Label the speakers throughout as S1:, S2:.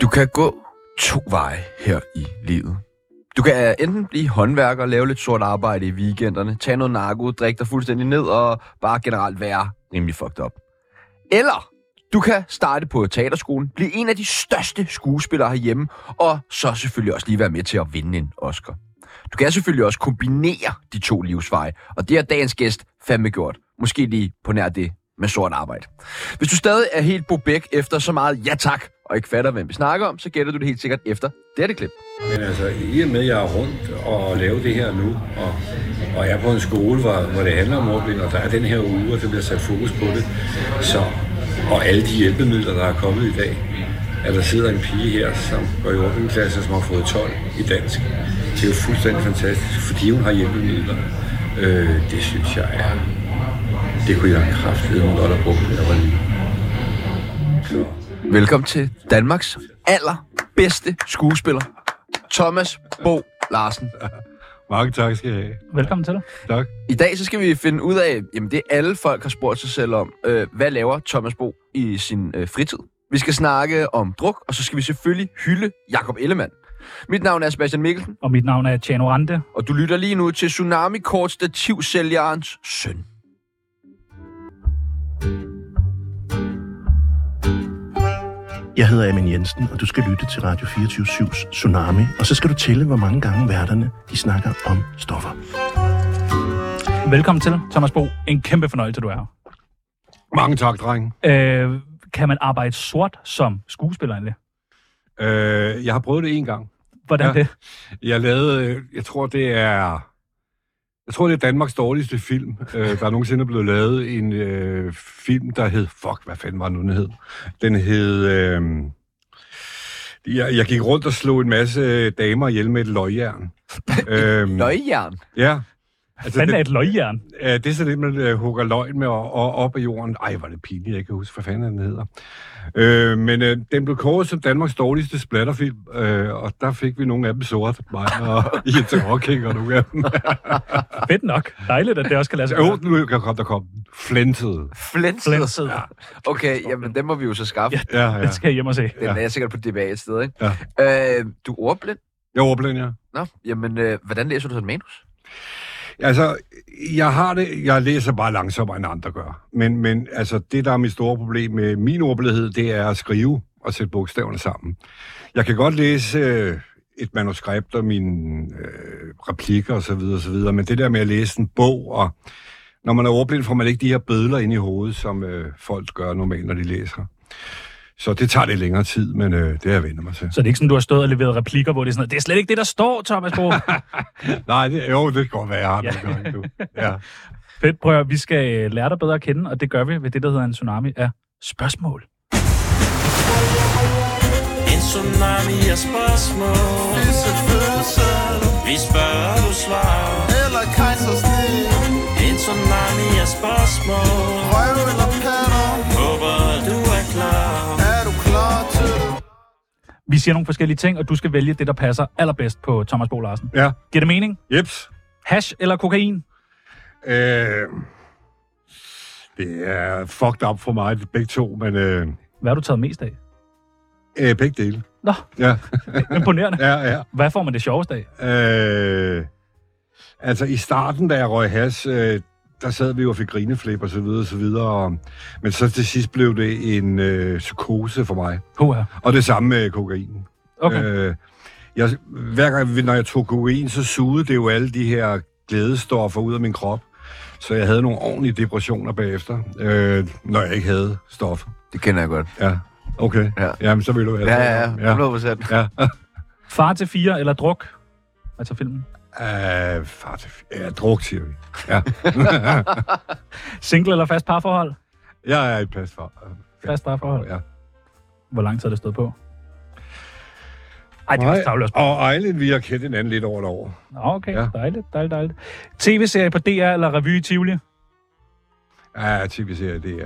S1: Du kan gå to veje her i livet. Du kan øh, enten blive håndværker, lave lidt sort arbejde i weekenderne, tage noget narko, drikke dig fuldstændig ned og bare generelt være rimelig fucked up. Eller du kan starte på teaterskolen, blive en af de største skuespillere herhjemme, og så selvfølgelig også lige være med til at vinde en Oscar. Du kan selvfølgelig også kombinere de to livsveje, og det har dagens gæst fandme gjort. Måske lige på nær det med sort arbejde. Hvis du stadig er helt bobæk efter så meget ja tak, og ikke fatter, hvem vi snakker om, så gætter du det helt sikkert efter dette klip.
S2: Men altså, i og med, at jeg er rundt og laver det her nu, og, og jeg er på en skole, hvor, hvor det handler om ordblind, og der er den her uge, og der bliver sat fokus på det, så, og alle de hjælpemidler, der er kommet i dag, at der sidder en pige her, som går i ordblindklasse, som har fået 12 i dansk. Det er jo fuldstændig fantastisk, fordi hun har hjælpemidler. Øh, det synes jeg er... Det kunne jeg kraftedeme godt have brugt, da jeg var lille. Så.
S1: Velkommen til Danmarks allerbedste skuespiller, Thomas Bo Larsen.
S3: Mange tak skal I have.
S4: Velkommen til dig.
S3: Tak.
S1: I dag så skal vi finde ud af, jamen det alle folk har spurgt sig selv om, øh, hvad laver Thomas Bo i sin øh, fritid? Vi skal snakke om druk, og så skal vi selvfølgelig hylde Jakob Ellemann. Mit navn er Sebastian Mikkelsen,
S4: Og mit navn er Tjano Rante.
S1: og du lytter lige nu til Tsunami Kort Stativsælgerens søn.
S5: Jeg hedder Amin Jensen, og du skal lytte til Radio 24-7's Tsunami. Og så skal du tælle, hvor mange gange værterne de snakker om stoffer.
S4: Velkommen til, Thomas Bo. En kæmpe fornøjelse, du er.
S3: Mange tak, dreng.
S4: Øh, kan man arbejde sort som skuespiller egentlig?
S3: Øh, jeg har prøvet det en gang.
S4: Hvordan
S3: Ja.
S4: ja. det?
S3: Jeg lavede, øh, jeg tror det er, jeg tror det er Danmarks dårligste film, øh, der nogensinde er blevet lavet. En øh, film, der hed, fuck, hvad fanden var den nu, den hed? Den hed, øh, jeg, jeg gik rundt og slog en masse øh, damer ihjel med et løgjern. øhm,
S1: Løgjern.
S3: Ja. Altså,
S4: Fanden er et løgjern.
S3: Øh, det er så det, man øh, hugger løgn med og, og op af jorden. Ej, var det pinligt, jeg kan huske, hvad fanden den hedder. Øh, men øh, den blev kåret som Danmarks dårligste splatterfilm, øh, og der fik vi nogle af dem sort. Mig og Jens Hawking og nogle af dem.
S4: Fedt nok. Dejligt, at det også kan lade sig
S3: Jo,
S4: gøre.
S3: nu kan kom, der kom flintede.
S1: Flænset.
S4: Flænset. Ja.
S1: Okay, jamen den må vi jo så skaffe.
S3: Ja, ja.
S4: Det skal jeg hjem og se.
S1: Den er sikkert på DBA et sted, ikke? Øh, du er ordblind.
S3: Jeg overblind, ja.
S1: Nå, jamen, øh, hvordan læser du sådan manus?
S3: Altså, jeg har det, jeg læser bare langsommere end andre gør. Men, men altså, det der er mit store problem med min ordblindhed, det er at skrive og sætte bogstaverne sammen. Jeg kan godt læse øh, et manuskript og mine øh, replikker osv., videre, men det der med at læse en bog, og når man er ordblind, får man ikke de her bødler ind i hovedet, som øh, folk gør normalt, når de læser. Så det tager lidt længere tid, men øh, det er jeg vender mig til.
S4: Så det er ikke sådan, du har stået og leveret replikker, hvor det er sådan noget, det er slet ikke det, der står, Thomas Bo.
S3: Nej, det, jo, det kan godt være, jeg har det.
S4: Ja.
S3: gør jeg nu. Ja.
S4: Fedt, prøv at, høre, vi skal øh, lære dig bedre at kende, og det gør vi ved det, der hedder en tsunami af spørgsmål.
S6: En tsunami af spørgsmål Vi spørger, du svarer
S7: Eller kejsersnit
S6: En tsunami af spørgsmål
S7: Røv eller patter
S6: Håber, du er klar
S7: Er du klar til det?
S4: Vi siger nogle forskellige ting, og du skal vælge det, der passer allerbedst på Thomas Bo Larsen.
S3: ja.
S4: Giver det mening?
S3: Jeps.
S4: Hash eller kokain?
S3: Øh, det er fucked up for mig, begge to, men øh,
S4: Hvad har du taget mest af?
S3: øh, begge dele.
S4: Nå,
S3: Ja,
S4: imponerende.
S3: ja, ja.
S4: Hvad får man det sjoveste af?
S3: Øh, altså, i starten, da jeg røg has, øh, der sad vi jo og fik grineflip og så videre og så videre. Og, men så til sidst blev det en øh, psykose for mig.
S4: Hoa.
S3: Og det samme med kokain.
S4: Okay. Øh.
S3: Øh, jeg, hver gang, når jeg tog kokain, så sugede det jo alle de her glædestoffer ud af min krop. Så jeg havde nogle ordentlige depressioner bagefter, øh, når jeg ikke havde stoffer.
S1: Det kender jeg godt.
S3: Ja, okay.
S1: Ja.
S3: Ja. Jamen, så vil du have
S1: Ja, ja, ja.
S3: ja.
S1: 100%.
S3: ja.
S4: Far til fire eller druk? Altså filmen.
S3: Uh, far til f- ja, druk, siger vi. Ja.
S4: Single eller fast parforhold?
S3: jeg er i plads for. øh,
S4: Fast parforhold.
S3: Ja.
S4: Hvor lang tid har det stået på? Ej, det er
S3: Nej,
S4: også tavligt at spørge.
S3: Og Ejlen, vi har kendt hinanden lidt over et år.
S4: Nå, okay.
S3: Ja.
S4: Dejligt, dejligt, dejligt. TV-serie på DR eller revy i Tivoli?
S3: Ja, typisk ser jeg det, ja.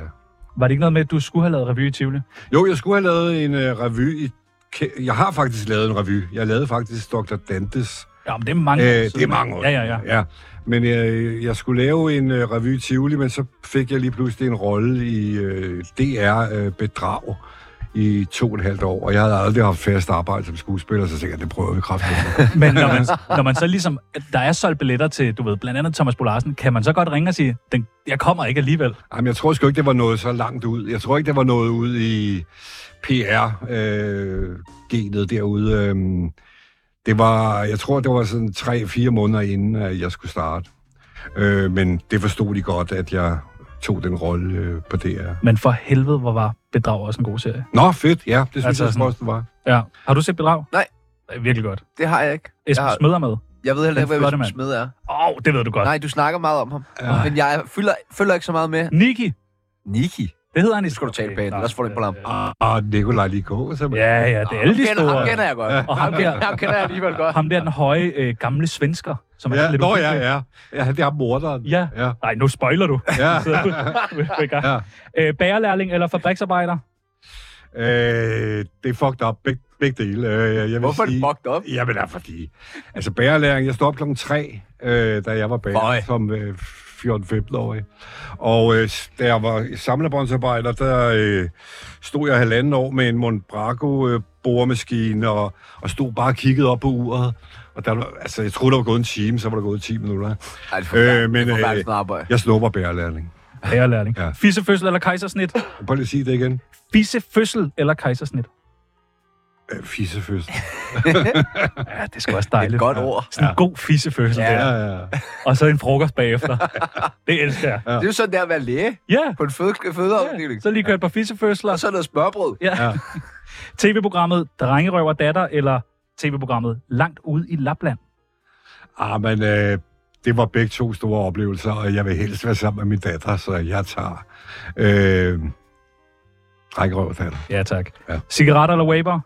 S4: Var det ikke noget med, at du skulle have lavet revy i Tivoli?
S3: Jo, jeg skulle have øh, lavet en uh, revy. I, ke- jeg har faktisk lavet en revy. Jeg lavede faktisk Dr. Dantes
S4: Ja, men det er mange år
S3: Øh, det er
S4: siden.
S3: mange år.
S4: Ja, ja, ja.
S3: ja. Men øh, jeg skulle lave en øh, revy i Tivoli, men så fik jeg lige pludselig en rolle i øh, DR-bedrag i to og et halvt år, og jeg havde aldrig haft fast arbejde som skuespiller, så tænkte jeg, det prøver vi kraftigt.
S4: Men når man, når man så ligesom, der er solgt billetter til, du ved, blandt andet Thomas Bolarsen, kan man så godt ringe og sige, den, jeg kommer ikke alligevel.
S3: Jamen, jeg tror sgu ikke, det var noget så langt ud. Jeg tror ikke, det var noget ud i PR-genet derude. Øhm, Det var, jeg tror, det var sådan 3-4 måneder inden, at jeg skulle starte. Øh, men det forstod de godt, at jeg tog den rolle øh, på DR.
S4: Men for helvede, hvor var Bedrag også en god serie.
S3: Nå, fedt, ja. Det synes altså,
S4: Altså
S3: jeg
S4: sådan-
S3: også, det var.
S4: Ja. Har du set Bedrag?
S1: Nej.
S4: Det er virkelig godt.
S1: Det har jeg ikke. Jeg,
S4: Esben
S1: har,
S4: Smed er med.
S1: jeg ved heller
S4: Den
S1: ikke, hvad
S4: flotte
S1: Esben
S4: mand.
S1: Smed er.
S4: Åh, oh, det ved du godt.
S1: Nej, du snakker meget om ham.
S3: Ja.
S1: Men jeg følger, følger ikke så meget med.
S4: Niki,
S1: Niki.
S4: det hedder han i
S1: Nu skal du tale bag den, ellers får du ikke på lampen.
S3: Og, og Ah, Nikolaj Likå, så
S4: Ja, ja, det er alle
S1: Ham
S4: de
S1: kender,
S4: store.
S1: ham kender jeg godt.
S4: Og ham der,
S1: Ham kender jeg alligevel godt.
S4: ham der den høje, øh, gamle svensker, som er
S3: ja.
S4: sådan lidt...
S3: Nå, ja,
S4: uhyggelig.
S3: ja. Ja, det er morderen.
S4: Ja.
S3: Ja.
S4: Nej, nu spoiler du.
S3: Ja.
S4: Så du- du er i gang.
S3: ja.
S4: Øh, bagerlærling eller fabriksarbejder?
S3: Øh, det er fucked up. Beg, begge dele. Øh, jeg vil
S1: Hvorfor er det
S3: sige,
S1: fucked up?
S3: Jamen, det er fordi... Altså, bærelæring, jeg stod op klokken tre, øh, da jeg var bærer,
S1: Føj.
S3: som øh, 14-15-årig. Og øh, da jeg var samlebåndsarbejder, der øh, stod jeg halvanden år med en Monbrago øh, boremaskine, og, og stod bare og kiggede op på uret. Og der, var- altså, jeg troede, der var gået en time, så var der gået 10 minutter.
S1: Ej, det er forfærdeligt.
S3: Øh, men,
S1: Det er
S3: øh,
S1: forfærdeligt sådan arbejde.
S3: Jeg snupper bærelærling.
S4: Bagerlærling.
S3: Ja.
S4: Fissefødsel eller kejsersnit?
S3: Prøv lige at sige det igen.
S4: Fissefødsel eller kejsersnit?
S3: Øh, Fissefødsel.
S4: Ja, det er sgu også
S1: Det er
S4: dejligt.
S1: et godt ord.
S4: Sådan en god fissefødsel
S3: Ja,
S4: der.
S3: ja, ja.
S4: Og så en frokost bagefter. det elsker jeg.
S1: Det er jo sådan der at være læge
S4: Ja,
S1: på en føde-
S4: ja.
S1: fødeafdeling.
S4: så lige kørt et par fissefødsler.
S1: Og så noget smørbrød.
S4: Ja.
S3: Ja.
S4: TV-programmet Drengerøver Datter eller TV-programmet Langt ude i Lapland.
S3: Ah, men øh, det var begge to store oplevelser, og jeg vil helst være sammen med min datter, så jeg tager øh, rækkerøv datter.
S4: Ja, tak.
S3: Ja.
S4: Cigaretter eller waber?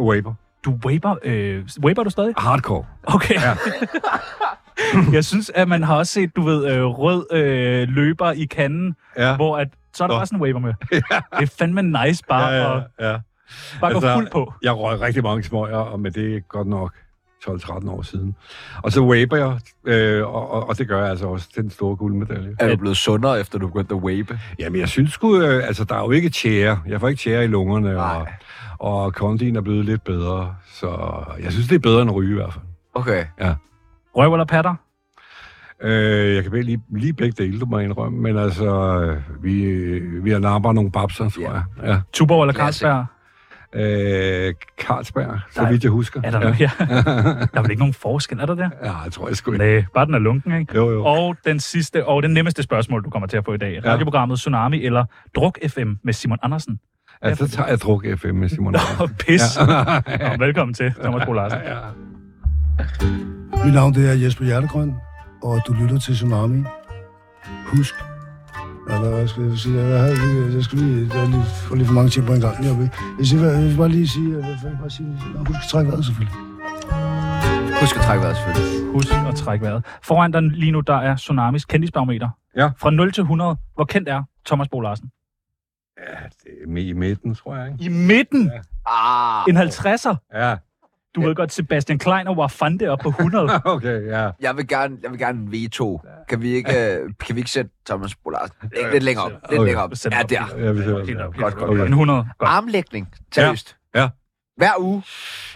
S3: Waber.
S4: Du waber, øh, waber du stadig?
S3: Hardcore.
S4: Okay. Ja. jeg synes, at man har også set, du ved, øh, rød øh, løber i kanden,
S3: Ja.
S4: hvor at, så er der
S3: Nå.
S4: bare sådan en waber med. Det er fandme nice bare
S3: ja,
S4: at
S3: ja, ja.
S4: bare gå
S3: Altså,
S4: fuld på.
S3: Jeg røg rigtig mange smøger, og med det er godt nok 12-13 år siden. Og så waber jeg, øh, og, og, og det gør jeg altså også til den store guldmedalje.
S1: Er du blevet sundere, efter du begyndte at wape?
S3: Jamen, jeg synes sgu, øh, altså, der er jo ikke tjære. Jeg får ikke tjære i lungerne, og,
S1: Nej.
S3: og kondien er blevet lidt bedre. Så jeg synes, det er bedre end at ryge i hvert fald.
S1: Okay.
S4: Røv eller patter?
S3: Øh, jeg kan vel lige, lige begge dele, du må indrømme, men altså, øh, vi, vi har napper nogle babser, tror
S1: Ja.
S3: jeg. Ja.
S4: Tuborg eller
S1: Classic.
S4: Carlsberg?
S3: Øh, Carlsberg, så
S4: Der-
S3: vidt jeg husker.
S4: Er der, ja. Ja. der er vel ikke nogen forskel, er der der?
S3: ja, jeg tror jeg sgu ikke.
S4: Nej, bare den er lunken, ikke?
S3: Jo, jo.
S4: Og den sidste og den nemmeste spørgsmål, du kommer til at få i dag.
S3: Ja.
S4: Radioprogrammet Tsunami eller Druk FM med Simon Andersen.
S3: Ja, Altså, så tager jeg druk FM med Simon. Andersen.
S4: Og pis. Ja. Og velkommen til, Thomas Bro Larsen.
S8: Mit navn det er Jesper Hjertegrøn, og du lytter til Tsunami. Husk. Ja, hvad hvad skal jeg sige? Jeg, havde lige, jeg skal lige, jeg lige, får lige for mange ting på en gang. Jeg vil, jeg siger, hvad- jeg vil bare lige sige, jeg vil bare sige, Nå, husk at trække vejret selvfølgelig.
S1: Husk at trække vejret, selvfølgelig.
S4: Husk at trække vejret. Foran dig lige nu, der er Tsunamis kendisbarometer.
S3: Ja.
S4: Fra 0 til 100. Hvor kendt er Thomas Bro Larsen?
S3: Det er med i midten, tror jeg, ikke?
S4: I midten. Ja.
S1: Ah,
S4: En 50'er.
S3: Ja,
S4: Du ved godt, Sebastian Klein og Wafande op på 100.
S3: okay, ja.
S1: jeg vil gerne, jeg vil gerne veto. Kan vi ikke, øh, kan vi ikke sætte Thomas Bolarsen lidt, lidt længere op? Lidt
S3: Okay.
S1: længere op.
S4: Sæt den
S1: Ja,
S4: op
S1: der.
S4: helt op.
S3: Jeg vil
S4: Helt op,
S3: sige,
S4: helt
S1: Godt,
S4: op.
S1: godt,
S4: En
S1: godt.
S4: 100. Godt.
S1: Armlægning. Seriøst.
S3: ja.
S1: Hver uge.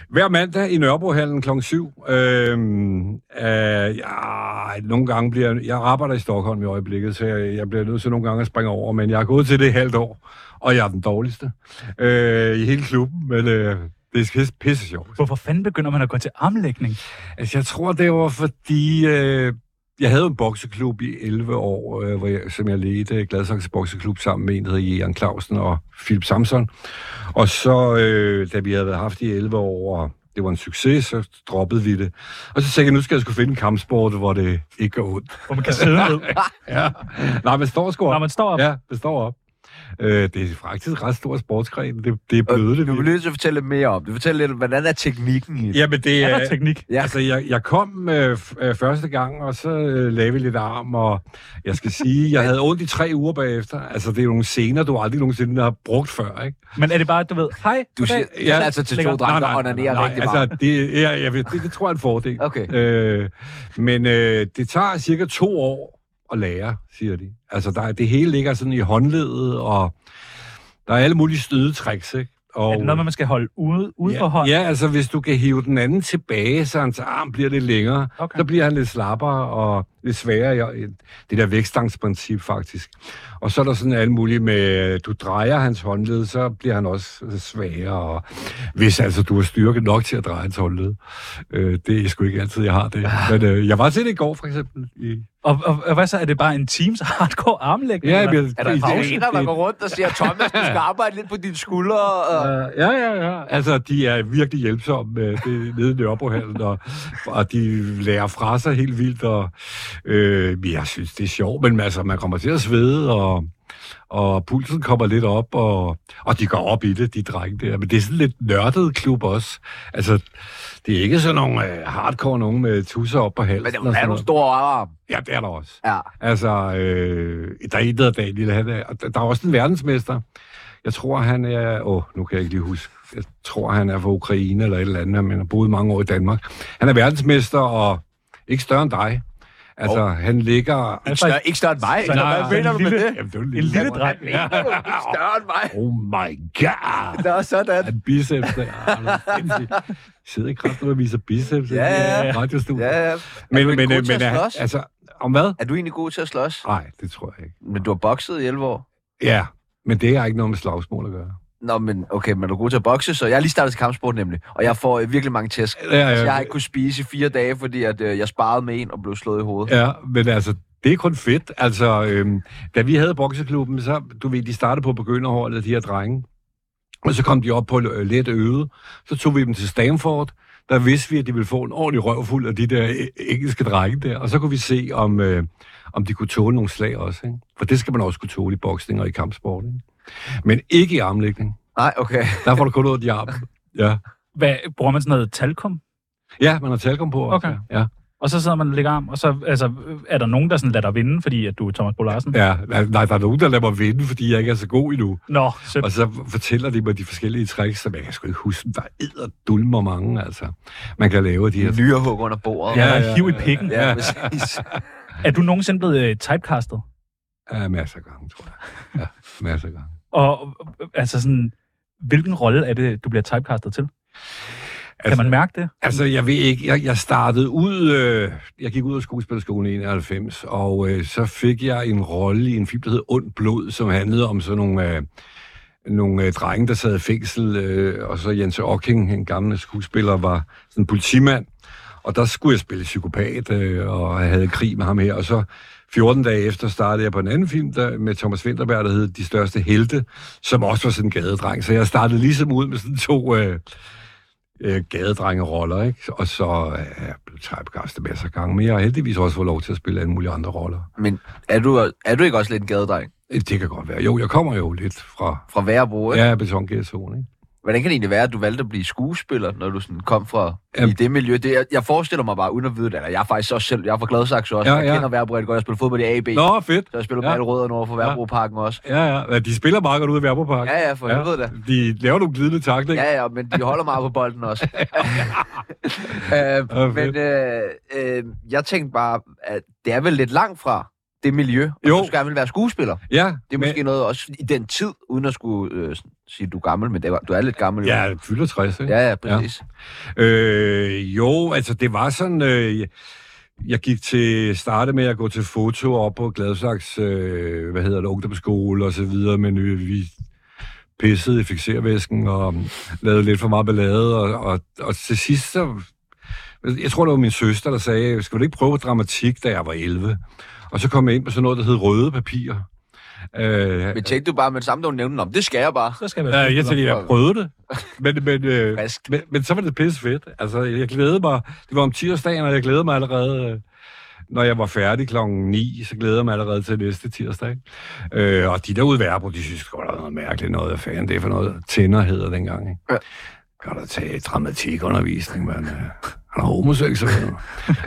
S3: Hver mandag i Nørrebrohallen kl. 7. Øhm, øh, ja, nogle gange bliver jeg... Jeg arbejder i Stockholm i øjeblikket, så jeg, jeg bliver nødt til nogle gange at springe over, men jeg har gået til det i halvt år, og jeg er den dårligste øh, i hele klubben, men øh, det er pisse, pisse sjovt.
S4: Hvorfor fanden begynder man at gå til armlægning?
S3: Altså, jeg tror, det var fordi... Øh, jeg havde en bokseklub i 11 år, øh, hvor jeg, som jeg ledte Gladsaxe Bokseklub sammen med en, der hed Jan Clausen og Philip Samson. Og så, øh, da vi havde været haft i 11 år, og det var en succes, så droppede vi det. Og så tænkte jeg, nu skal jeg skulle finde en kampsport, hvor det ikke går ondt.
S4: Hvor man kan sidde ned,
S3: Ja. Nej, man står sgu
S4: når
S3: op.
S4: man står op.
S3: Ja, man står op. Øh, det er faktisk et ret stor sportsgren. Det, det er
S1: Og
S3: bløde, det
S1: Du bliver
S3: virkelig.
S1: nødt til at fortælle lidt mere om det. Fortæl lidt, hvordan er teknikken i det?
S3: Jamen, det
S4: Ja,
S3: er...
S4: der er teknik.
S1: Ja.
S3: Ja. Altså, jeg, jeg kom øh, f- øh, første gang, og så øh, lavede vi lidt arm, og jeg skal sige, jeg havde ondt i tre uger bagefter. Altså, det er jo nogle scener, du aldrig nogensinde har brugt før, ikke?
S4: Men er det bare, du ved, hej,
S1: Du siger,
S3: Ja.
S1: ja, altså til to
S4: Lækker.
S1: drenge, der onanerer rigtig meget.
S3: altså, det, ja, jeg ved, det, det tror jeg er en fordel.
S1: Okay.
S3: Øh, men øh, det tager cirka to år at lære, siger de. Altså, der, er- det hele ligger sådan i håndledet, og der er alle mulige stødetricks, ikke? Og,
S4: er det noget, med, man skal holde ude, ude for hånden?
S3: Ja, ja, altså hvis du kan hive den anden tilbage, så hans arm bliver lidt længere,
S4: Okay.
S3: okay. så bliver han lidt slappere og lidt sværere. i- i Det der vækstangsprincip faktisk. Og så er der sådan alt muligt med, du drejer hans håndled, så bliver han også svagere. Og hvis altså du har styrke nok til at dreje hans håndled. Øh, det er sgu ikke altid, jeg har det.
S1: Ah.
S3: Men øh, jeg var til det i går for eksempel. I,
S4: Og, og, og, hvad så? Er det bare en teams hardcore armlægning?
S3: Ja,
S4: eller?
S3: men-
S1: Er der
S3: i-
S1: en
S3: i-
S1: faglænder, der
S3: i-
S1: går rundt og siger, Thomas, du skal arbejde lidt på dine skuldre? Og...
S3: Øh, ja, ja, ja. Altså, de er virkelig hjælpsomme med det, nede i Nørrebrohallen, og, og de lærer fra sig helt vildt, og øh, men jeg synes, det er sjovt, men altså, man kommer til at svede, og, og pulsen kommer lidt op, og, og de går op i det, de drenge der. Men det er sådan lidt nørdet klub også. Altså, det er ikke sådan nogle øh, hardcore nogen med tusser op på halsen.
S1: Men det
S3: og
S1: er
S3: sådan
S1: nogle
S3: noget.
S1: store arm.
S3: Ja, det er der også.
S1: Ja.
S3: Altså, øh, der er en, der hedder Daniel, han er, og der der er også en verdensmester. Jeg tror, han er... Åh, nu kan jeg ikke lige huske. Jeg tror, han er fra Ukraine eller et eller andet, men han har boet mange år i Danmark. Han er verdensmester, og ikke større end dig. Altså, oh. han ligger...
S1: Ikke større, ikke større end mig. Eller
S3: Nej,
S1: Hvad mener
S4: en
S1: du med
S4: lille-
S1: det?
S3: Jamen, det er jo en
S4: En lille dreng.
S1: Mener du ikke større end mig?
S3: Oh my god!
S1: Det er sådan.
S3: Han biceps der. Ah, det er sindssygt. Sidder i kraften og viser biceps.
S1: Ja, ja.
S3: Radiostudiet.
S1: Ja, ja.
S3: Men,
S1: Er
S3: men,
S1: du
S3: men,
S1: god
S3: men,
S1: til at slås?
S3: altså, om hvad?
S1: Er du egentlig god til at slås?
S3: Nej, det tror jeg ikke.
S1: Men du har bokset i 11 år.
S3: Ja, men det har ikke noget med slagsmål at gøre.
S1: Nå, men okay, men du er god til at bokse, så jeg har lige startet til kampsport nemlig, og jeg får øh, virkelig mange tæsk.
S3: Ja,
S1: Så
S3: ja,
S1: jeg har ikke kunnet spise i fire dage, fordi at, øh, jeg sparede med en og blev slået i hovedet.
S3: ja, men altså, det er kun fedt. Altså, øhm, da vi havde bokseklubben, så, du ved, de startede på begynderholdet, de her drenge. Og så kom de op på øh, let øde. Så tog vi dem til Stanford. Der vidste vi, at de ville få en ordentlig røvfuld af de der øh, engelske drenge der. Og så kunne vi se, om, øh, om de kunne tåle nogle slag også. Ikke? For det skal man også kunne tåle i boksning og i kampsport. Ikke? Men ikke i armlægning.
S1: Nej, okay.
S3: Der får du kun ud af de arme. Ja.
S4: Hvad, bruger man sådan noget talkum?
S3: ja, man har talkom på også.
S4: Okay.
S3: Ja.
S4: Og så sidder man og lægger arm, og så altså, er der nogen, der sådan lader dig vinde, fordi at du er Thomas Bo Larsen?
S3: Ja, nej, nej, der er nogen, der lader mig vinde, fordi jeg ikke er så god endnu.
S4: Nå, så
S3: Og så fortæller de mig de forskellige tricks, som jeg kan sgu ikke huske. Der er dulmer mange, altså. Man kan lave de her...
S1: Nyrehug under bordet.
S4: ja,
S3: Ja,
S4: der
S3: ja,
S4: er hiv i
S3: ja, ja.
S4: pikken.
S1: ja præcis.
S4: Er du nogensinde blevet øh, typecastet?
S3: Ja, masser af gange, tror jeg. Ja, masser af gange.
S4: Og øh, altså sådan, hvilken rolle er det, du bliver typecastet til? Kan
S3: Altså-
S4: man mærke det?
S3: Altså, jeg ved ikke. Jeg, jeg startede ud... Øh, jeg gik ud af skuespillerskolen i 91, og øh, så fik jeg en rolle i en film, der hed Ondt Blod, som handlede om sådan nogle... Øh, nogle øh, drenge, der sad i fængsel, øh, og så Jens Ocking, en gammel skuespiller, var sådan en politimand. Og der skulle jeg spille psykopat, øh, og jeg havde krig med ham her. Og så 14 dage efter startede jeg på en anden film der, med Thomas Winterberg, der hed De Største Helte, som også var sådan en gadedreng. Så jeg startede ligesom ud med sådan to... Øh, øh, gadedrengeroller, ikke? Og så er jeg blevet typecastet masser af gange, men jeg har heldigvis også fået lov til at spille alle mulige andre roller.
S1: Men er du, er du ikke også lidt en gadedreng?
S3: Øh, Det kan godt være. Jo, jeg kommer jo lidt fra...
S1: Fra Værebro, ikke?
S3: Jeg er betongæsson, ikke?
S1: Hvordan kan det egentlig være, at du valgte at blive skuespiller, når du sådan kom fra Jamen.
S3: Jamen.
S1: i det miljø? Det, jeg, jeg forestiller mig bare, uden at vide det, eller jeg er faktisk også selv, jeg er fra Gladsaxe også, ja,
S3: Ja,
S1: jeg
S3: ja.
S1: kender Værebro rigtig godt, jeg spiller fodbold i AB,
S3: Nå, fedt.
S1: så jeg spiller med
S3: Ja.
S1: alle rødderne over for Værebroparken også.
S3: Ja, ja. ja. De spiller meget godt ude i Værborpark.
S1: Ja, ja, for ja. helvede da.
S3: De laver nogle glidende taklinger.
S1: Ja, ja, men de holder meget på bolden også. øh,
S3: Ja,
S1: men
S3: fedt.
S1: øh, øh, jeg tænkte bare, at det er vel lidt langt fra det miljø, og
S3: Jo.
S1: du skal gerne vil være skuespiller.
S3: Ja,
S1: Det er måske men... noget også i den tid, uden at skulle øh, sådan sige, du er gammel, men det var, du er lidt gammel.
S3: men,
S1: jo.
S3: ja, jeg fylder 60, ikke?
S1: ja, ja, præcis. Ja.
S3: Øh, jo, altså det var sådan... Øh, jeg- jeg gik til starte med at gå til foto op på Gladsaks, øh, hvad hedder det, ungdomsskole og så videre, men øh, vi pissede i fixervæsken og lavede lidt for meget ballade, og, og, og til sidst så... Jeg tror, det var min søster, der sagde, skal du ikke prøve dramatik, da jeg var 11? Og så kom jeg ind på sådan noget, der hed røde papirer. Øh,
S1: Men tænkte du bare med det samme, da hun nævnte, om det skal jeg bare.
S4: Så skal jeg være
S3: Ja, jeg tænkte, jeg prøvede det. Men, men, øh,
S1: Frisk.
S3: men, men så var det pisse fedt. Altså, jeg glædede mig. Det var om tirsdagen, og jeg glædede mig allerede. når jeg var færdig klokken 9, så glæder jeg mig allerede til næste tirsdag. ikke? Øh, og de derude værbo, de synes godt, der er noget mærkeligt noget af fanden. Det er for noget tænder hedder dengang. Ikke?
S1: Ja.
S3: Kan da tage dramatikundervisning, men øh, han er homoseksuel.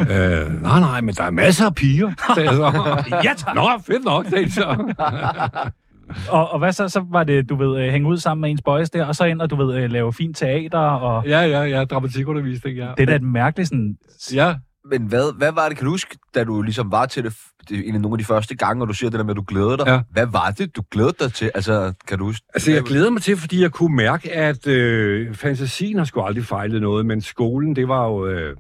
S3: øh, nej, nej, men der er masser af piger, sagde jeg så. ja, tak. Nå, fedt nok, sagde de så.
S4: Og, og hvad så? Så var det, du ved, øh, hænge ud sammen med ens boys der, og så ind og, du ved, øh, lave fint teater, og...
S3: ja, ja, ja, dramatikundervisning, ja.
S4: Det er da et mærkeligt sådan...
S3: Ja,
S1: Men hvad, hvad var det, kan du huske, da du ligesom var til det, f- det en af nogle af de første gange, og du siger det der med, at du glæder dig?
S3: Ja.
S1: Hvad var det, du glædede dig til? Altså, kan du huske?
S3: Altså, jeg glæder mig til, fordi jeg kunne mærke, at øh, fantasien har sgu aldrig fejlet noget, men skolen, det var jo... Øh,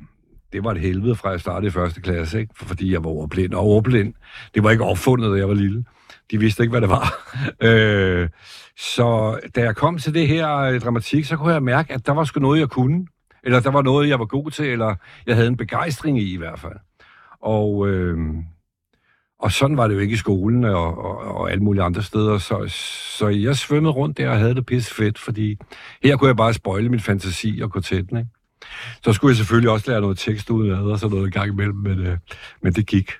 S3: det var et helvede fra jeg startede i første klasse, ikke? fordi jeg var ordblind. Og ordblind, det var ikke opfundet, da jeg var lille. De vidste ikke, hvad det var. øh, så da jeg kom til det her øh, dramatik, så kunne jeg mærke, at der var sgu noget, jeg kunne. Eller der var noget, jeg var god til, eller jeg havde en begejstring i i hvert fald. Og, øh, og sådan var det jo ikke i skolen og, og, og alle mulige andre steder. Så, så jeg svømmede rundt der og havde det pisse fedt, fordi her kunne jeg bare spøjle min fantasi og gå til den. Ikke? Så skulle jeg selvfølgelig også lære noget tekst ud af og sådan noget en gang imellem, men, øh, men det gik.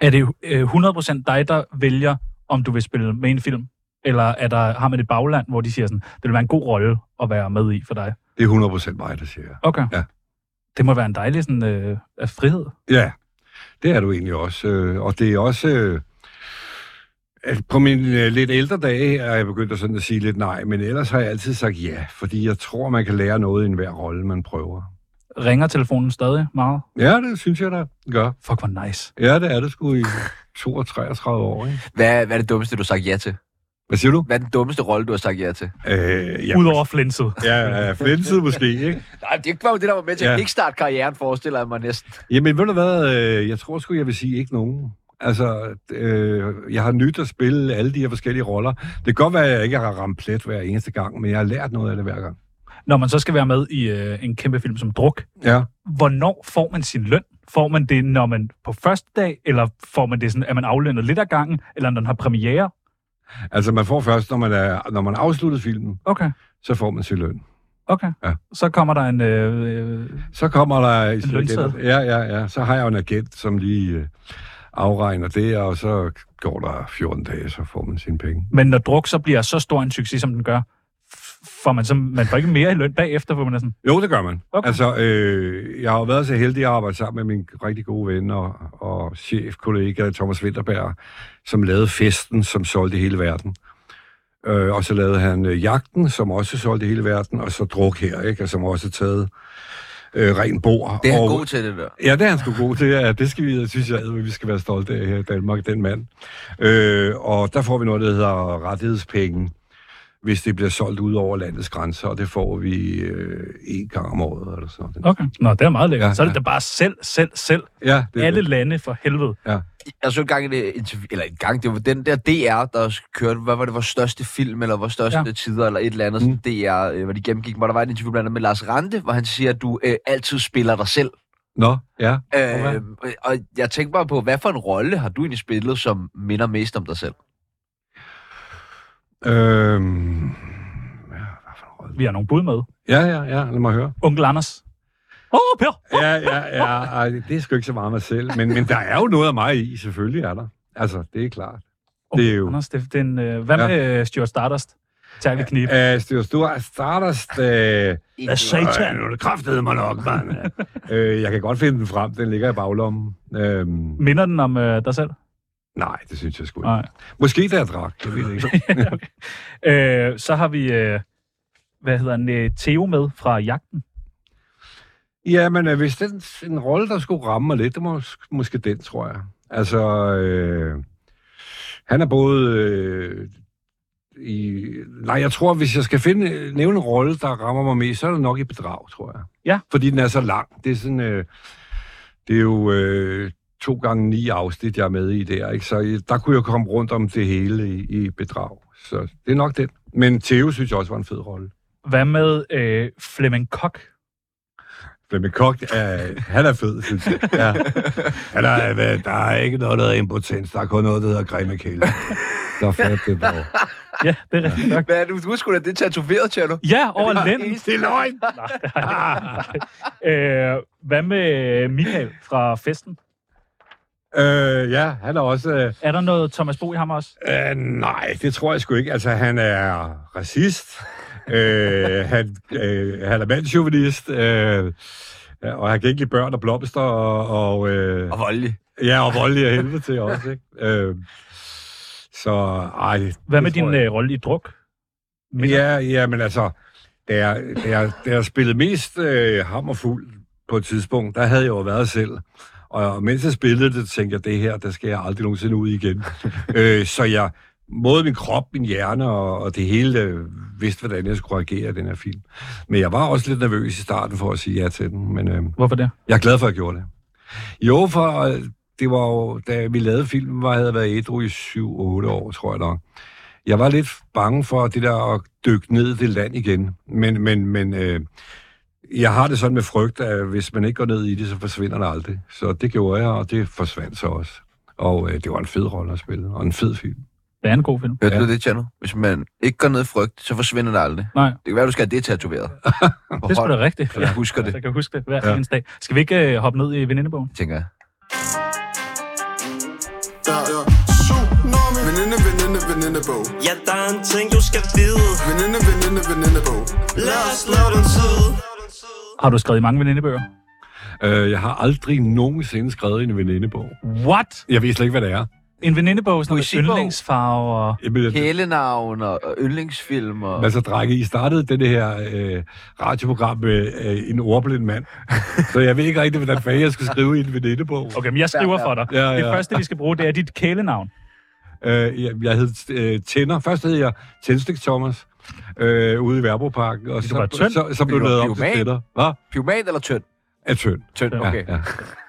S4: Er det øh, 100% dig, der vælger, om du vil spille med i en film? Eller er der, har man et bagland, hvor de siger sådan, det vil være en god rolle at være med i for dig?
S3: Det er 100% mig, der siger.
S4: Okay.
S3: Ja.
S4: Det må være en dejlig sådan, øh, af frihed.
S3: Ja, det er du egentlig også. øh, Og det er også... øh, at På mine øh, lidt ældre dage er jeg begyndt at sådan at sige lidt nej, men ellers har jeg altid sagt ja, fordi jeg tror, man kan lære noget i enhver rolle, man prøver.
S4: Ringer telefonen stadig meget?
S3: Ja, det synes jeg da gør.
S4: Fuck, hvor nice.
S3: Ja, det er det sgu i 32 år, ikke?
S1: Hvad, hvad er det dummeste, du har sagt ja til?
S3: Hvad siger du?
S1: Hvad er den dummeste rolle, du har sagt ja til?
S3: Øh, ja,
S4: Ja. Udover flænset.
S3: ja, ja, flænset måske, ikke?
S1: Nej, det var jo det, der var med til
S3: Ja.
S1: at kickstarte karrieren, forestiller jeg mig næsten.
S3: Jamen, ved du hvad? øh, Jeg tror sgu, jeg vil sige ikke nogen. Altså, øh, jeg har nyt at spille alle de her forskellige roller. Det kan godt være, at jeg ikke har ramt plet hver eneste gang, men jeg har lært noget af det hver gang.
S4: Når man så skal være med i øh, en kæmpe film som Druk,
S3: Ja.
S4: hvornår får man sin løn? Får man det, når man på første dag, eller får man det sådan, at man aflønnet lidt af gangen, eller når den har premiere?
S3: Altså, man får først, når man, er, når man har afsluttet filmen,
S4: Okay,
S3: så får man sin løn.
S4: okay.
S3: Ja.
S4: Så kommer der en... Øh, øh,
S3: Så kommer der... En
S4: lønseddel.
S3: Ja, ja, ja. Så har jeg jo en agent, som lige øh, afregner det, og så går der 14 dage, så får man sine penge.
S4: men når Druk så bliver så stor en succes, som den gør, f- får man, så, man får ikke mere i løn bagefter, hvor man er sådan,
S3: Jo, det gør man.
S4: Okay.
S3: Okay. Altså, øh, jeg har jo været så heldig at arbejde sammen med min rigtig gode ven og, og chefkollega Thomas Winterberg, som lavede Festen, som solgte i hele verden. Øh, og så lavede han øh, Jagten, som også solgte i hele verden, og så Druk her, ikke? Og som også har taget øh, ren bord.
S1: Det er han
S3: og,
S1: god til, det der.
S3: Ja, det er han sgu god til. Ja, det skal vi, jeg synes jeg, at vi skal være stolte af her i Danmark, den mand. Øh, og der får vi noget, der hedder rettighedspenge, hvis det bliver solgt ud over landets grænser, og det får vi øh, en gang om året eller sådan noget.
S4: okay, nå, det er meget lækkert. Ja,
S3: Ja,
S4: så er det
S3: ja.
S4: da bare selv, selv, selv.
S3: Ja, det, er
S4: Alle
S3: det.
S4: lande for helvede.
S1: Jeg så engang et interview, eller en gang, det var den der DR, der kørte, hvad var det, vores største film, eller vores største
S4: Ja.
S1: ja. tider, eller et eller andet, mm. DR, øh, hvor de gennemgik, hvor der var et interview blandt andet med Lars Rante, hvor han siger, at du øh, altid spiller dig selv.
S3: Nå, ja. Okay.
S1: Øh, og jeg tænkte bare på, hvad for en rolle har du egentlig spillet, som minder mest om dig selv?
S3: Øhm, ja, hvad for en rolle?
S4: Vi har nogle bud med.
S3: ja, ja, ja, lad mig høre.
S4: Onkel Anders. Åh, oh, Per!
S3: Ja, ja, ja, ej, det er sgu ikke så meget mig selv, men, men der er jo noget af mig i, selvfølgelig er der. Altså, det er klart. Det er jo...
S4: Anders, det, det er en, øh, hvad
S3: Ja.
S4: med øh, Stuart Stardust? Tag vi knib.
S3: Øh, Styr Stor Stardust... Øh,
S4: Hvad
S3: Øh, nu er det kraftede mig nok, mand. øh, jeg kan godt finde den frem. Den ligger i baglommen. Øhm,
S4: Minder den om øh, dig selv?
S3: nej, det synes jeg sgu ikke.
S4: Nej.
S3: Måske da jeg drak. Jeg ved det ikke.
S4: Øh, så har vi, øh, hvad hedder han, øh, Theo med fra Jagten.
S3: ja, men øh, hvis den en rolle, der skulle ramme mig lidt, det må måske den, tror jeg. Altså, øh, han er både... Øh, i, nej, jeg tror, hvis jeg skal finde, øh, nævne en rolle, der rammer mig mest, så er det nok i bedrag, tror jeg.
S4: Ja.
S3: Fordi den er så lang. Det er sådan... Øh, det er jo øh, to gange ni afsnit, jeg er med i der, ikke? Så øh, der kunne jeg komme rundt om det hele i, i bedrag. Så det er nok den. Men Theo synes jeg også var en fed rolle.
S4: Hvad med øh, Flemming Kok?
S3: Flemming Kogt, øh, han er fed, synes jeg. Ja. Han er, øh, hvad, der er ikke noget, der hedder impotens. Der er kun noget, der hedder grimme kæle. Der er fat det dog.
S4: Ja, det er rigtigt nok.
S1: Hvad er det, du skulle da det tatoveret, Tjerno?
S4: Ja, over lænden.
S3: Det er løgn!
S4: Øh, hvad med Michael fra Festen?
S3: Øh, ja, han er også... Øh,
S4: Er der noget Thomas Bo i ham også?
S3: Øh, nej, det tror jeg sgu ikke. Altså, han er racist. øh, han, øh, han er mandsjuvenist. Øh, og han kan ikke lide børn og blomster og... og øh,
S1: Og voldelig.
S3: ja, og voldelig af helvede til også, ikke? Øh, så, ej...
S4: Hvad
S3: det tror
S4: med din
S3: jeg-
S4: øh, rolle i druk?
S3: Ja, ja, men altså, da jeg, da jeg, da jeg spillede mest øh, hammerfuld på et tidspunkt, der havde jeg jo været selv. Og mens jeg spillede det, tænkte jeg, det her, der skal jeg aldrig nogensinde ud igen. øh, så jeg, både min krop, min hjerne og, og det hele, øh, vidste, hvordan jeg skulle reagere i den her film. Men jeg var også lidt nervøs i starten for at sige ja til den, men øh,
S4: Hvorfor det?
S3: jeg er glad for, at jeg gjorde det. Jo, for øh, det var jo, da vi lavede filmen, var, havde jeg været ædru i 7-8 år, tror jeg nok. Jeg var lidt bange for det der at dykke ned i det land igen. Men, men, men øh, jeg har det sådan med frygt, at hvis man ikke går ned i det, så forsvinder det aldrig. Så det gjorde jeg, og det forsvandt så også. Og øh, det var en fed rolle at spille, og en fed film.
S4: Det er en god film.
S1: Hørte
S3: Ja.
S1: ja. du det, Tjerno? Hvis man ikke går ned i frygt, så forsvinder det aldrig.
S4: Nej.
S1: Det kan være, du skal have det tatoveret. På
S4: Det er sgu da
S1: hånden,
S4: rigtigt. altså,
S1: så du husker det,
S4: Jeg kan huske det hver
S3: Ja.
S4: ja. eneste dag. Skal vi ikke øh, hoppe ned i venindebogen?
S1: tænker jeg.
S7: Der er tsunami Veninde, veninde, venindebog
S6: Ja, der er en ting, du skal vide
S7: Veninde, veninde, venindebog
S6: Lad os slå den tid
S4: Har du skrevet i mange venindebøger?
S3: Øh, jeg har aldrig nogensinde skrevet en venindebog.
S4: What?
S3: Jeg ved slet ikke, hvad det er.
S4: En venindebog, sådan noget med
S1: Poesibog.
S4: yndlingsfarve og...
S3: Jamen, jeg-
S1: Kælenavn og og yndlingsfilm og...
S3: Altså, drenge, I startede det her øh, radioprogram med øh, en ordblind mand, så jeg ved ikke rigtig, hvordan fanden jeg skal skrive i en venindebog.
S4: Okay, men jeg skriver for dig.
S3: Ja, ja.
S4: Det første, vi skal bruge, det er dit kælenavn.
S3: Øh, jeg, jeg hed øh, Tænder. Først hed jeg Tændstik Thomas øh, ude i Værboparken, og
S4: Du
S3: så,
S4: var
S3: så,
S4: tynd.
S3: så, så blev
S1: Du
S3: det lavet
S1: var
S3: om til
S1: pyroman.
S3: Tænder. Hvad?
S1: Pyroman eller tynd?
S3: Er tynd.
S1: Tynd, okay.
S3: Ja, ja.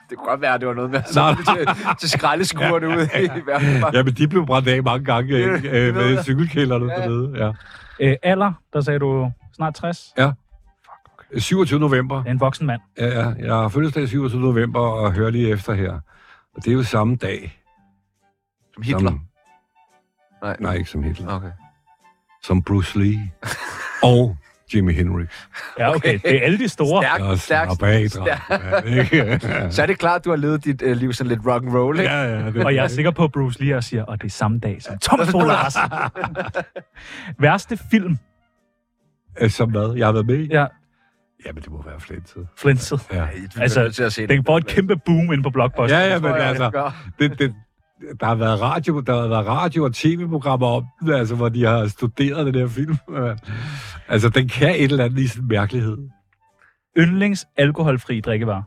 S1: Det kunne godt være, at det var noget med at
S3: Nej.
S1: samle til, til skraldeskurene ude i verden.
S3: ja, men de blev brændt af mange gange
S1: Det-
S3: ikke? Øh,
S1: det ved
S3: med
S1: jeg.
S3: cykelkælderne
S1: Ja.
S3: dernede. Ja.
S4: Øh, alder, der sagde du snart 60.
S3: 27. november.
S4: Det er en voksen mand.
S3: Ja, ja. Jeg har fødselsdag 27. november og hører lige efter her. Og det er jo samme dag.
S1: Som Hitler.
S3: Som,
S1: Nej.
S3: nej, ikke som Hitler.
S1: Okay.
S3: som Bruce Lee og Jimi Hendrix.
S4: Ja, okay. Det er alle de store.
S1: Stærk,
S3: Og
S1: stærk,
S3: slap af,
S1: stærk.
S3: dreng, mand, ikke?
S1: Så er det klart, at du har levet dit øh, liv sådan lidt rock and roll, ikke?
S3: ja, ja, det,
S4: Og jeg er sikker på, at Bruce Lee også siger, og det er samme dag som Thomas Bo Larsen. Værste film,
S3: Øh, Som hvad? Jeg har været med i?
S4: ja,
S3: Jamen, det må være flintet.
S4: flænset.
S3: Ja,
S1: Ej, du
S4: Altså,
S1: altså, nødt til at se
S4: Den får et kæmpe boom ind på Blockbuster.
S3: ja, ja men
S1: Tror jeg,
S3: altså,
S1: det gør.
S3: det, det, der har været radio, der har været radio og tv-programmer om den, altså, hvor de har studeret den der film. mand. altså, den kan et eller andet i sin mærkelighed.
S4: Yndlings alkoholfri drikkevarer.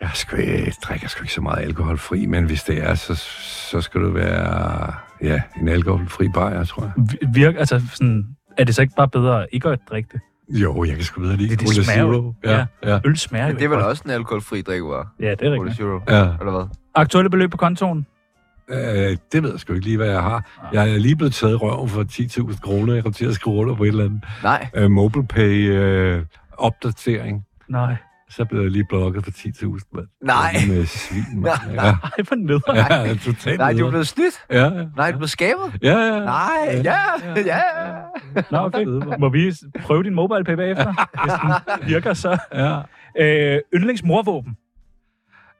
S3: Jeg, skal, jeg drikker sgu ikke så meget alkoholfri, men hvis det er, så, så skal det være ja, en alkoholfri bajer, tror jeg.
S4: Vi- Virk, altså sådan, er det så ikke bare bedre ikke at drikke det?
S3: Jo, jeg kan sgu bedre lide
S4: Det- det
S3: Cola
S4: smager jo.
S3: Zero. Ja, ja.
S4: Øl smager jo
S1: Men det er
S4: ikke
S1: vel
S4: godt.
S1: også en alkoholfri drikkevare,
S4: Ja, det er
S1: Cola
S4: rigtigt.
S1: Zero,
S3: ja.
S1: eller hvad?
S4: Aktuelle beløb på kontoen?
S3: Øh, det ved jeg sgu ikke lige, hvad jeg har. Jeg er lige blevet taget i røven for 10.000 kroner. Jeg kom til at skrive under på et eller andet
S1: Nej,
S3: øh, MobilePay-opdatering.
S4: Nej.
S3: så blev jeg lige blokket for 10.000, mand.
S1: nej,
S3: Det er Med svin, mand. Ja,
S4: Ej, for neder.
S3: ja, totalt.
S1: nej, du er
S3: nederen.
S1: blevet snydt.
S3: Ja, ja.
S1: Nej, du er blevet skævet.
S3: Ja, ja.
S1: Nej, ja, ja.
S4: Nå, okay. Må vi s- prøve din mobile pay bagefter? Hvis den virker så.
S3: ja.
S4: Øh, yndlingsmorvåben.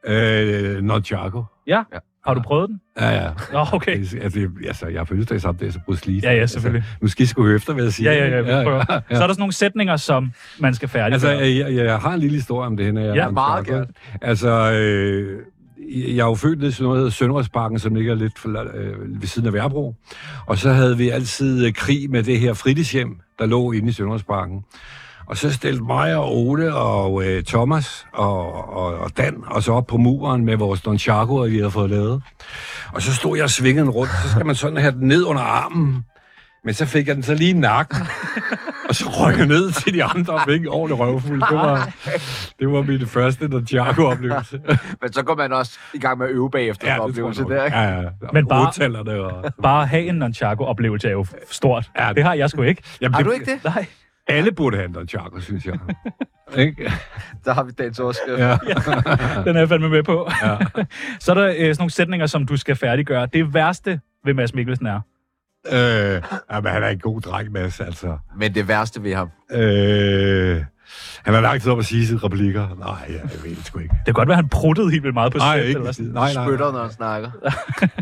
S3: Øh, Nunchaku.
S4: Ja.
S1: Ja.
S4: Har du prøvet den?
S3: Ja, ja.
S4: Nå, okay.
S3: Det- Altså, jeg- altså, jeg har fødselsdag samme dag, så Bruce Lee.
S4: Ja, ja, selvfølgelig.
S3: Altså, nu skal I sgu høre efter, hvad jeg siger.
S4: Ja, ja, ja. Vi prøver.
S3: ja.
S4: Så er der sådan nogle sætninger, som man skal
S3: Altså,
S4: færdiggøre.
S3: jeg, jeg, jeg har en lille historie om det her.
S4: Ja,
S1: meget gerne.
S3: Altså, øh, jeg er jo født nede i sådan noget, der hedder Sønderhøjsparken, som ligger lidt for, la- øh, ved siden af Værbro. Og så havde vi altid øh, krig med det her fritidshjem, der lå inde i Sønderhøjsparken. Og så stillede mig og Ole og øh, Thomas og, og, og Dan og så op på muren med vores Don Chaco, vi havde fået lavet. Og så stod jeg og svingede den rundt, så skal man sådan have den ned under armen. Men så fik jeg den så lige i nakken, og så røg jeg ned til de andre og fik en ordentlig røvfuld. Det var, det var min første Nunchaku-oplevelse.
S1: Men så går man også i gang med at øve bagefter ja, oplevelse
S3: tror
S1: der,
S3: jeg nok.
S1: ikke?
S3: Ja, ja. Og
S4: Men bare-
S3: rotallerne og...
S4: Bare at have en nonchaco-oplevelse er jo f- stort.
S3: Ja.
S4: Det har jeg sgu ikke.
S3: Jamen,
S1: Har du ikke det?
S4: Nej.
S3: Alle burde have en Nunchaku, synes jeg. Ikke?
S1: Der har vi dagens overskrift.
S3: Ja.
S4: Den er jeg fandme med på. Ja. så er der øh, sådan nogle sætninger, som du skal færdiggøre. Det værste ved Mads Mikkelsen er.
S3: Øh, jamen, han er en god dreng, Mads, altså.
S1: Men det værste ved ham,
S3: Øh, Han har langt tid op at sige sine replikker. Nej, ja, jeg ved det sgu ikke.
S4: Det kan godt være, han pruttede helt vildt meget på
S3: Nej,
S4: set,
S3: ikke.
S4: eller sådan.
S3: Nej, nej,
S1: Spytter,
S3: nej.
S1: når han snakker.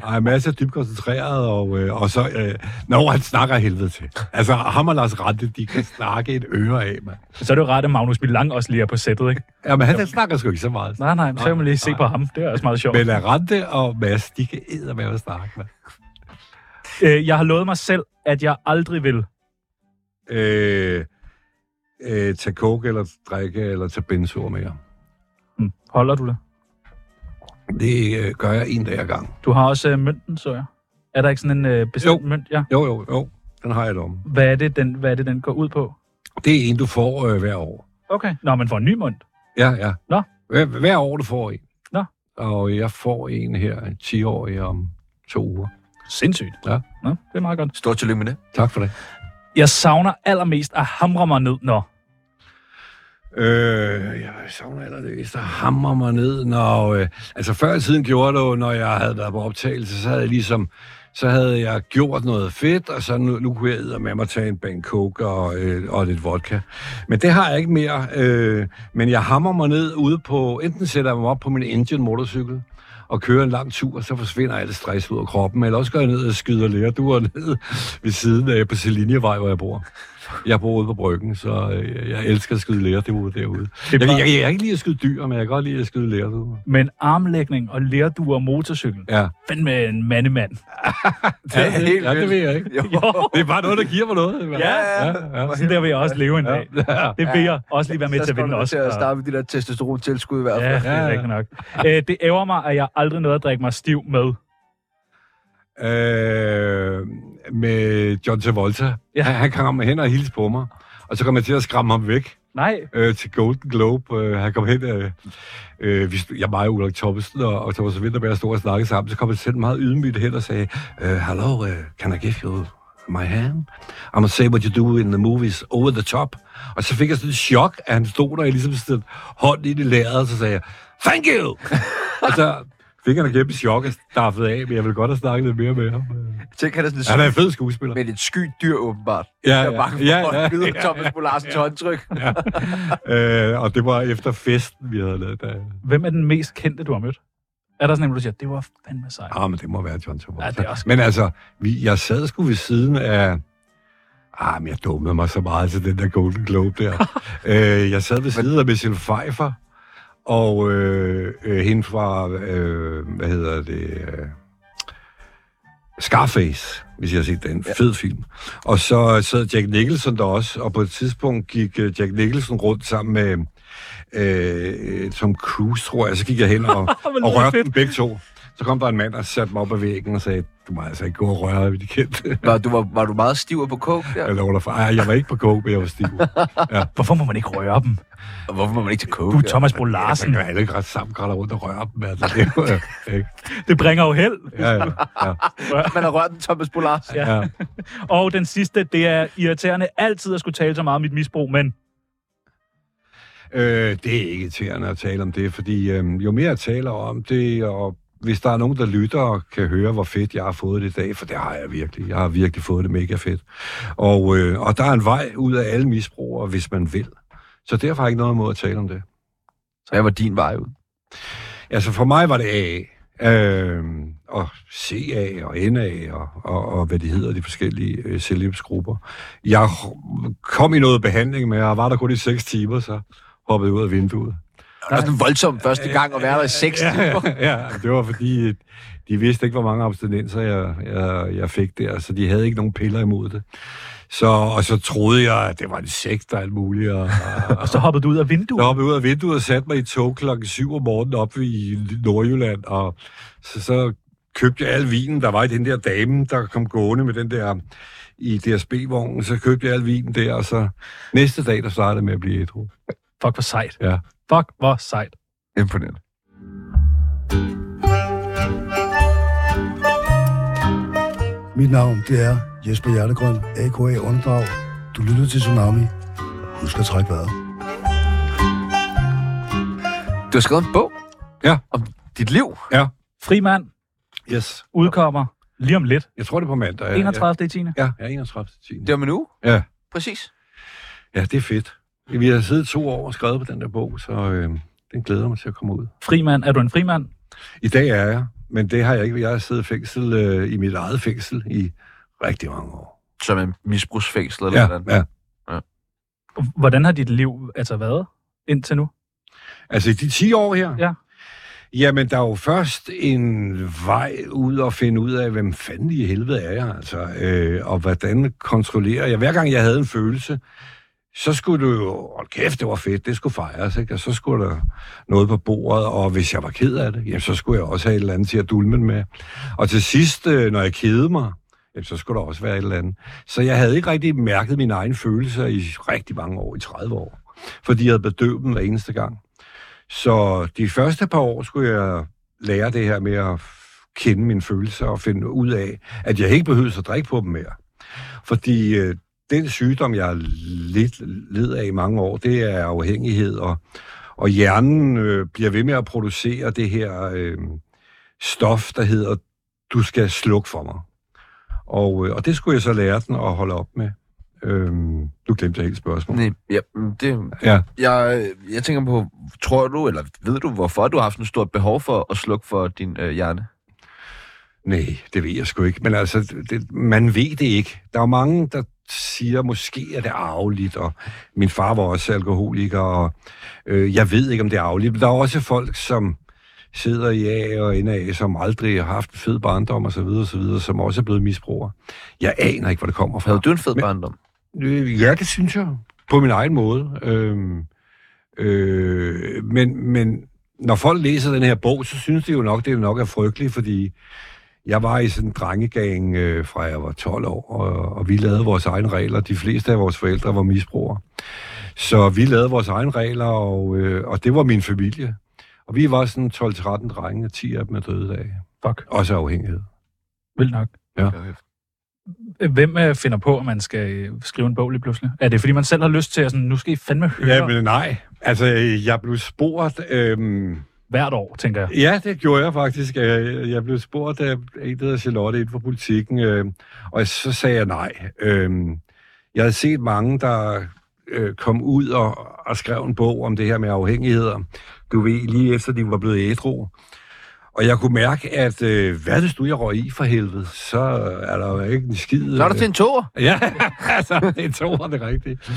S3: Ej, masser er dybt koncentreret, og, øh, og så... Øh, når han snakker af helvede til. Altså, ham og Lars Rante, de kan snakke et øre af, mand.
S4: Så er det jo rart, at Magnus Milang også lige er på sættet, ikke?
S3: Jamen, han snakker sgu ikke så meget.
S4: Nej, nej, så kan man lige se
S3: Nej.
S4: på ham. Det er også meget sjovt.
S3: Men at Rante og Mads, de kan æde med at snakke, mand.
S4: Øh, jeg har lovet mig selv, at jeg aldrig vil.
S3: Øh, øh, tage coke eller drikke eller tage benzoer mere.
S4: Hm, holder du det?
S3: Det øh, gør jeg en dag ad gang.
S4: Du har også øh, mønten, så jeg. Er der ikke sådan en øh, bestemt
S3: Jo.
S4: mønt? Ja.
S3: Jo, jo, jo. Den har jeg om.
S4: Hvad er, det, den, hvad er det, den går ud på?
S3: Det er en, du får øh, hver år.
S4: Okay. Nå, man får en ny mønt.
S3: Ja, ja.
S4: Nå.
S3: Hver, hver år, du får en.
S4: Nå.
S3: Og jeg får en her, en 10-årig om to uger.
S4: Sindssygt.
S3: Ja.
S4: Nå, det er meget godt.
S1: Stort tillykke med det.
S3: Tak for det.
S4: Jeg savner allermest at hamre mig ned, når...
S3: Øh, jeg savner allerede, der hammer mig ned, når... Øh, altså før i tiden gjorde jeg det jo, når jeg havde været på optagelse, så havde jeg ligesom... Så havde jeg gjort noget fedt, og så nu, nu kunne jeg med mig tage en bank coke og, øh, og lidt vodka. Men det har jeg ikke mere. Øh, men jeg hammer mig ned ude på... Enten sætter jeg mig op på min engine motorcykel, og kører en lang tur, så forsvinder alt stress ud af kroppen. Eller også går jeg ned og skyder lærduer ned ved siden af på Selinjevej, hvor jeg bor. Jeg bor ude på bryggen, så øh, jeg elsker at skyde lærduer derude. Jeg, jeg, jeg, jeg kan ikke lide at skyde dyr, men jeg kan godt lide at skyde lærduer.
S4: Men armlægning og lærduer og motorcykel.
S3: Ja.
S4: Fandme en mandemand.
S3: Det er ja,
S1: helt
S3: ja, det
S1: vildt.
S3: ved jeg ikke.
S1: Jo.
S3: Det er bare noget, der giver mig noget.
S4: Ja,
S3: ja, ja.
S4: Sådan der vil jeg også leve en dag.
S3: ja.
S4: Det vil jeg også lige være med
S1: Så
S4: til at
S1: skal
S4: vinde
S1: du
S4: også.
S1: til at starte med de der testosteron-tilskud i hvert
S4: Ja,
S1: fald.
S4: det er
S3: Ja.
S4: rigtigt nok. Æ, det ærger mig, at jeg aldrig nåede at drikke mig stiv med.
S3: Øh, med John Travolta.
S4: Ja.
S3: Ja. Han, han kom hen og hilste på mig. Og så kom jeg til at skræmme ham væk.
S4: Nej,
S3: øh, til Golden Globe. Øh, han kom hen, øh, øh, vi, stod- jeg, mig, Ulrik Thomsen og, og Thomas Vinterberg stod og snakkede sammen, så kom han selv meget ydmygt hen og sagde, øh, Hello, øh, can I give you my hand? I'm gonna say what you do in the movies, over the top. Og så fik jeg sådan et chok, at han stod der og ligesom sted hånden ind i læret, og så sagde jeg, thank you! og så fik han et kæmpe chok og staffede af, men jeg ville godt have snakket lidt mere med ham. Øh,
S1: Tænk, han er sådan
S3: Han er en
S1: syg,
S3: fed skuespiller.
S1: men et skyt dyr åbenbart.
S3: Ja,
S1: Jeg er
S3: ja,
S1: bange for,
S3: ja,
S1: at
S3: ja,
S1: skyde
S3: ja,
S1: Thomas Bolarsens håndtryk.
S3: øh, og det var efter festen, vi havde lavet. Der.
S4: hvem er den mest kendte, du har mødt? Er der sådan en, hvor du siger, det var fandme sejt.
S3: Ah, men det må være John Travolta.
S4: Ja, det er også-
S3: Men altså, vi, jeg sad sgu ved siden af... Ah, men jeg dummede mig så meget til den der Golden Globe der. øh, jeg sad ved siden af Michelle Pfeiffer, og øh, øh, hende fra, øh, hvad hedder det, øh, Scarface, hvis jeg har set den. Ja. Fed film. Og så sad Jack Nicholson der også, og på et tidspunkt gik øh, Jack Nicholson rundt sammen med øh, Tom Cruise, tror jeg. Så gik jeg hen og,
S4: lyder
S3: og rørte
S4: fedt.
S3: dem begge to. Så kom der en mand og satte mig op ad væggen og sagde, du må altså ikke gå og røre ved de kendte.
S1: Var du, var, var du meget stiv og på coke der?
S3: Jeg lover dig for. Ej, jeg var ikke på coke, men jeg var stiv.
S4: Hvorfor må man ikke røre dem?
S1: Og hvorfor må man ikke til coke?
S4: Du er
S1: ja?
S4: Thomas Bro
S3: Altså,
S4: Larsen.
S3: man kan alle ikke ret sammen kravle rundt og røre dem. Altså, det er jo, øh, ikke?
S4: Det bringer jo held.
S3: Ja, ja, ja,
S1: Man har rørt den Thomas Bolars. Ja.
S3: ja.
S4: Og den sidste, det er irriterende altid at skulle tale så meget om mit misbrug, men
S3: Øh, det er ikke irriterende at tale om det, fordi øh, jo mere jeg taler om det, og hvis der er nogen, der lytter og kan høre, hvor fedt jeg har fået det i dag, for det har jeg virkelig. Jeg har virkelig fået det mega fedt. Og, øh, og der er en vej ud af alle misbrugere, hvis man vil. Så derfor har jeg ikke noget imod at tale om det.
S1: Så jeg var din vej ud.
S3: Altså for mig var det AA, øh, og CA og NA og, og, og hvad de hedder, de forskellige øh, selvhjælpsgrupper. Jeg kom i noget behandling med, og var der kun i 6 timer, så hoppede jeg ud af vinduet.
S1: Det var sådan voldsom første gang at være der i seks timer.
S3: ja, ja, det var fordi, øh, de vidste ikke, hvor mange abstinenser jeg, jeg, jeg fik der, så de havde ikke nogen piller imod det. Så, og så troede jeg, at det var en sekt og alt muligt. Og, og,
S4: og så hoppede du ud af vinduet.
S3: jeg hoppede ud af vinduet og satte mig i et tog klokken 7 om morgenen op i Nordjylland, og så, så købte jeg al vinen, der var i den der dame, der kom gående med den der i DSB-vognen, så købte jeg al vinen der, og så næste dag, der startede jeg med at blive ædru.
S4: Fuck, hvor sejt.
S3: Ja.
S4: Fuck, hvor sejt.
S1: Imponerende.
S8: Mit navn, det er Jesper Hjertegrøn, AKA Underdrag. Du lytter til Tsunami. Husk at trække vejret.
S1: Du har skrevet en bog.
S3: Ja.
S1: Om dit liv.
S4: Frimand
S3: Yes.
S4: udkommer lige om lidt.
S3: Jeg tror, det er på mandag. Ja,
S4: 31. i 10.
S3: Ja, ja 31. 10.
S1: Det var en uge.
S3: Ja.
S1: Præcis.
S3: ja, det er fedt. Vi har siddet to år og skrevet på den der bog, så øh, den glæder jeg mig til at komme ud.
S4: Frimand, er du en frimand?
S3: I dag er jeg, men det har jeg ikke. Jeg har siddet i fængsel øh, i mit eget fængsel i rigtig mange år.
S1: Som en misbrugsfængsel eller hvordan?
S3: ja.
S4: Hvordan har dit liv altså været indtil nu?
S3: Altså i de 10 år her?
S4: Ja.
S3: Jamen, der er jo først en vej ud og finde ud af, hvem fanden i helvede er jeg, altså, øh, og hvordan kontrollerer jeg. Hver gang jeg havde en følelse, så skulle det jo, hold kæft, det var fedt, det skulle fejres, ikke? og så skulle der noget på bordet, og hvis jeg var ked af det, jamen, så skulle jeg også have et eller andet til at dulme den med. Og til sidst, øh, når jeg kedede mig, jamen, så skulle der også være et eller andet. Så jeg havde ikke rigtig mærket mine egne følelser i rigtig mange år, i 30 år, fordi jeg havde bedøvet dem hver eneste gang. Så de første par år skulle jeg lære det her med at f- kende mine følelser og finde ud af, at jeg ikke behøvede at drikke på dem mere. Fordi øh, den sygdom, jeg lidt led af i mange år, det er afhængighed, og, og hjernen øh, bliver ved med at producere det her øh, stof, der hedder, du skal slukke for mig. Og, øh, og det skulle jeg så lære den at holde op med. Øh, du glemte helt spørgsmålet.
S1: Nej, ja, mm, det,
S3: Ja.
S1: jeg, jeg tænker på, tror du, eller ved du, hvorfor du har haft sådan et stort behov for at slukke for din øh, hjerne?
S3: Nej, det ved jeg sgu ikke. Men altså, det, man ved det ikke. Der er jo mange, der siger, måske er det arveligt, og min far var også alkoholiker, og øh, jeg ved ikke, om det er arveligt. Men der er også folk, som sidder i A og NA, som aldrig har haft en fed barndom osv., videre, som også er blevet misbrugere. Jeg aner ikke, hvor det kommer fra.
S1: Havde du en fed
S3: Men-
S1: barndom?
S3: Øh, Ja, det synes jeg. På min egen måde. Øhm, øh, men, men når folk læser den her bog, så synes de jo nok, det nok er frygteligt, fordi jeg var i sådan en drengegang øh, fra jeg var 12 år, og, og vi lavede vores egne regler. De fleste af vores forældre var misbrugere. Så vi lavede vores egne regler, og, øh, og det var min familie. Og vi var sådan 12-13 drenge, og 10 af dem er døde af.
S4: Fuck,
S3: Også afhængighed.
S4: vildt nok. Hvem øh, finder på, at man skal øh, skrive en bog lige pludselig? Er det, fordi man selv har lyst til at sådan, nu skal I fandme høre
S3: Ja,
S4: ja, men...
S3: men nej. Altså, jeg blev spurgt... Øh,
S4: hvert år, tænker jeg.
S3: Ja, det gjorde jeg faktisk. Øh, Jeg blev spurgt af en, der hedder Charlotte, inden for politikken, øh, og så sagde jeg nej. Øh, Jeg havde set mange, der øh, kom ud og, og skrev en bog om det her med afhængigheder. Du ved, lige efter de var blevet ædru. Og jeg kunne mærke, at øh, hvad hvis du jeg røg i for helvede, så er der jo ikke en skid... øh.
S1: Nå, er der til en toer.
S3: Ja, altså, det er to år, det er rigtigt.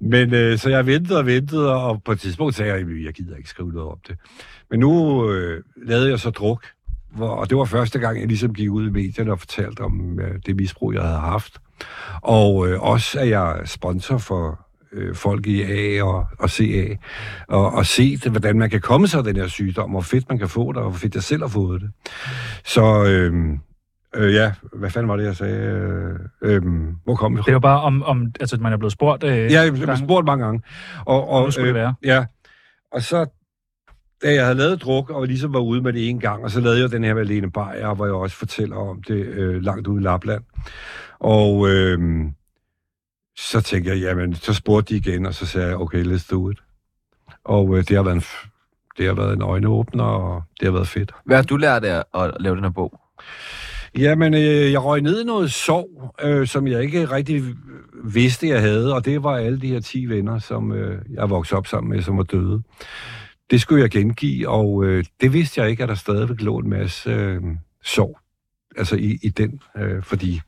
S3: Men øh, så jeg ventede og ventede, og på et tidspunkt sagde jeg, at jeg gider ikke skrive noget om det. Men nu øh, lavede jeg så druk, hvor, og det var første gang, jeg ligesom gik ud i medierne og fortalte om øh, det misbrug, jeg havde haft. Og øh, også er jeg sponsor for øh, folk i A og, og CA, og, og set, hvordan man kan komme sig af den her sygdom, hvor fedt man kan få det, og hvor fedt jeg selv har fået det. Så øh, øh, ja, hvad fanden var det, jeg sagde? Øh, øh, hvor kom vi fra?
S4: Det er jo bare om, om altså, man er blevet spurgt. Øh,
S3: Ja, jeg blev
S4: gange.
S3: spurgt mange gange. Og, og,
S4: Nu skulle det være.
S3: Øh, ja. Og så, da jeg havde lavet druk, og ligesom var ude med det en gang, og så lavede jeg den her med Lene Beyer, hvor jeg også fortæller om det øh, langt ude i Lapland. Og øh, så tænkte jeg, jamen, så spurgte de igen, og så sagde jeg, okay, let's do it. Og øh, det har været en f- det har været en øjenåbner, og det har været fedt.
S1: Hvad har du lært af at lave den her bog?
S3: Jamen, øh, jeg røg ned i noget sorg, øh, som jeg ikke rigtig vidste, jeg havde, og det var alle de her 10 venner, som øh, jeg voksede op sammen med, som var døde. Det skulle jeg gengive, og øh, det vidste jeg ikke, at der stadigvæk lå en masse øh, sorg altså i, i den, øh, fordi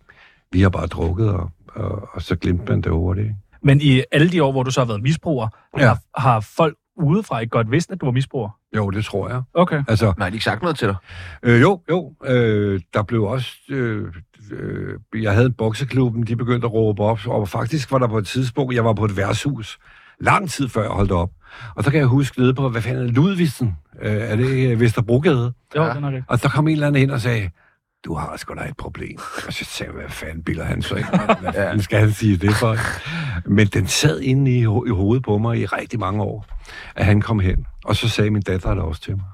S3: vi har bare drukket, og, og, og så glemte man det hurtigt. ikke?
S4: Men i alle de år, hvor du så har været misbruger, ja.
S3: Ja.
S4: har, har folk udefra ikke godt vidst, at du var misbruger?
S3: Jo, det tror jeg.
S4: Okay.
S3: Altså,
S1: Nej, de har ikke sagt noget til dig.
S3: Øh, jo, jo. Øh, der blev også... Øh, øh, jeg havde en bokseklubben, de begyndte at råbe op, og faktisk var der på et tidspunkt, jeg var på et værtshus, lang tid før jeg holdt op. Og så kan jeg huske nede på, hvad fanden er det, Ludvigsen? Øh, er det øh, Vesterbrogade?
S4: Jo,
S1: Ja.
S4: ja. den er rigtig.
S3: Og så kom en eller anden hen og sagde, du har sgu da et problem. Og så sagde jeg, hvad fanden bilder han så ikke? Hvad fanden skal han sige det for? Men den sad inde i, ho- i hovedet på mig i rigtig mange år, at han kom hen. Og så sagde min datter det også til mig.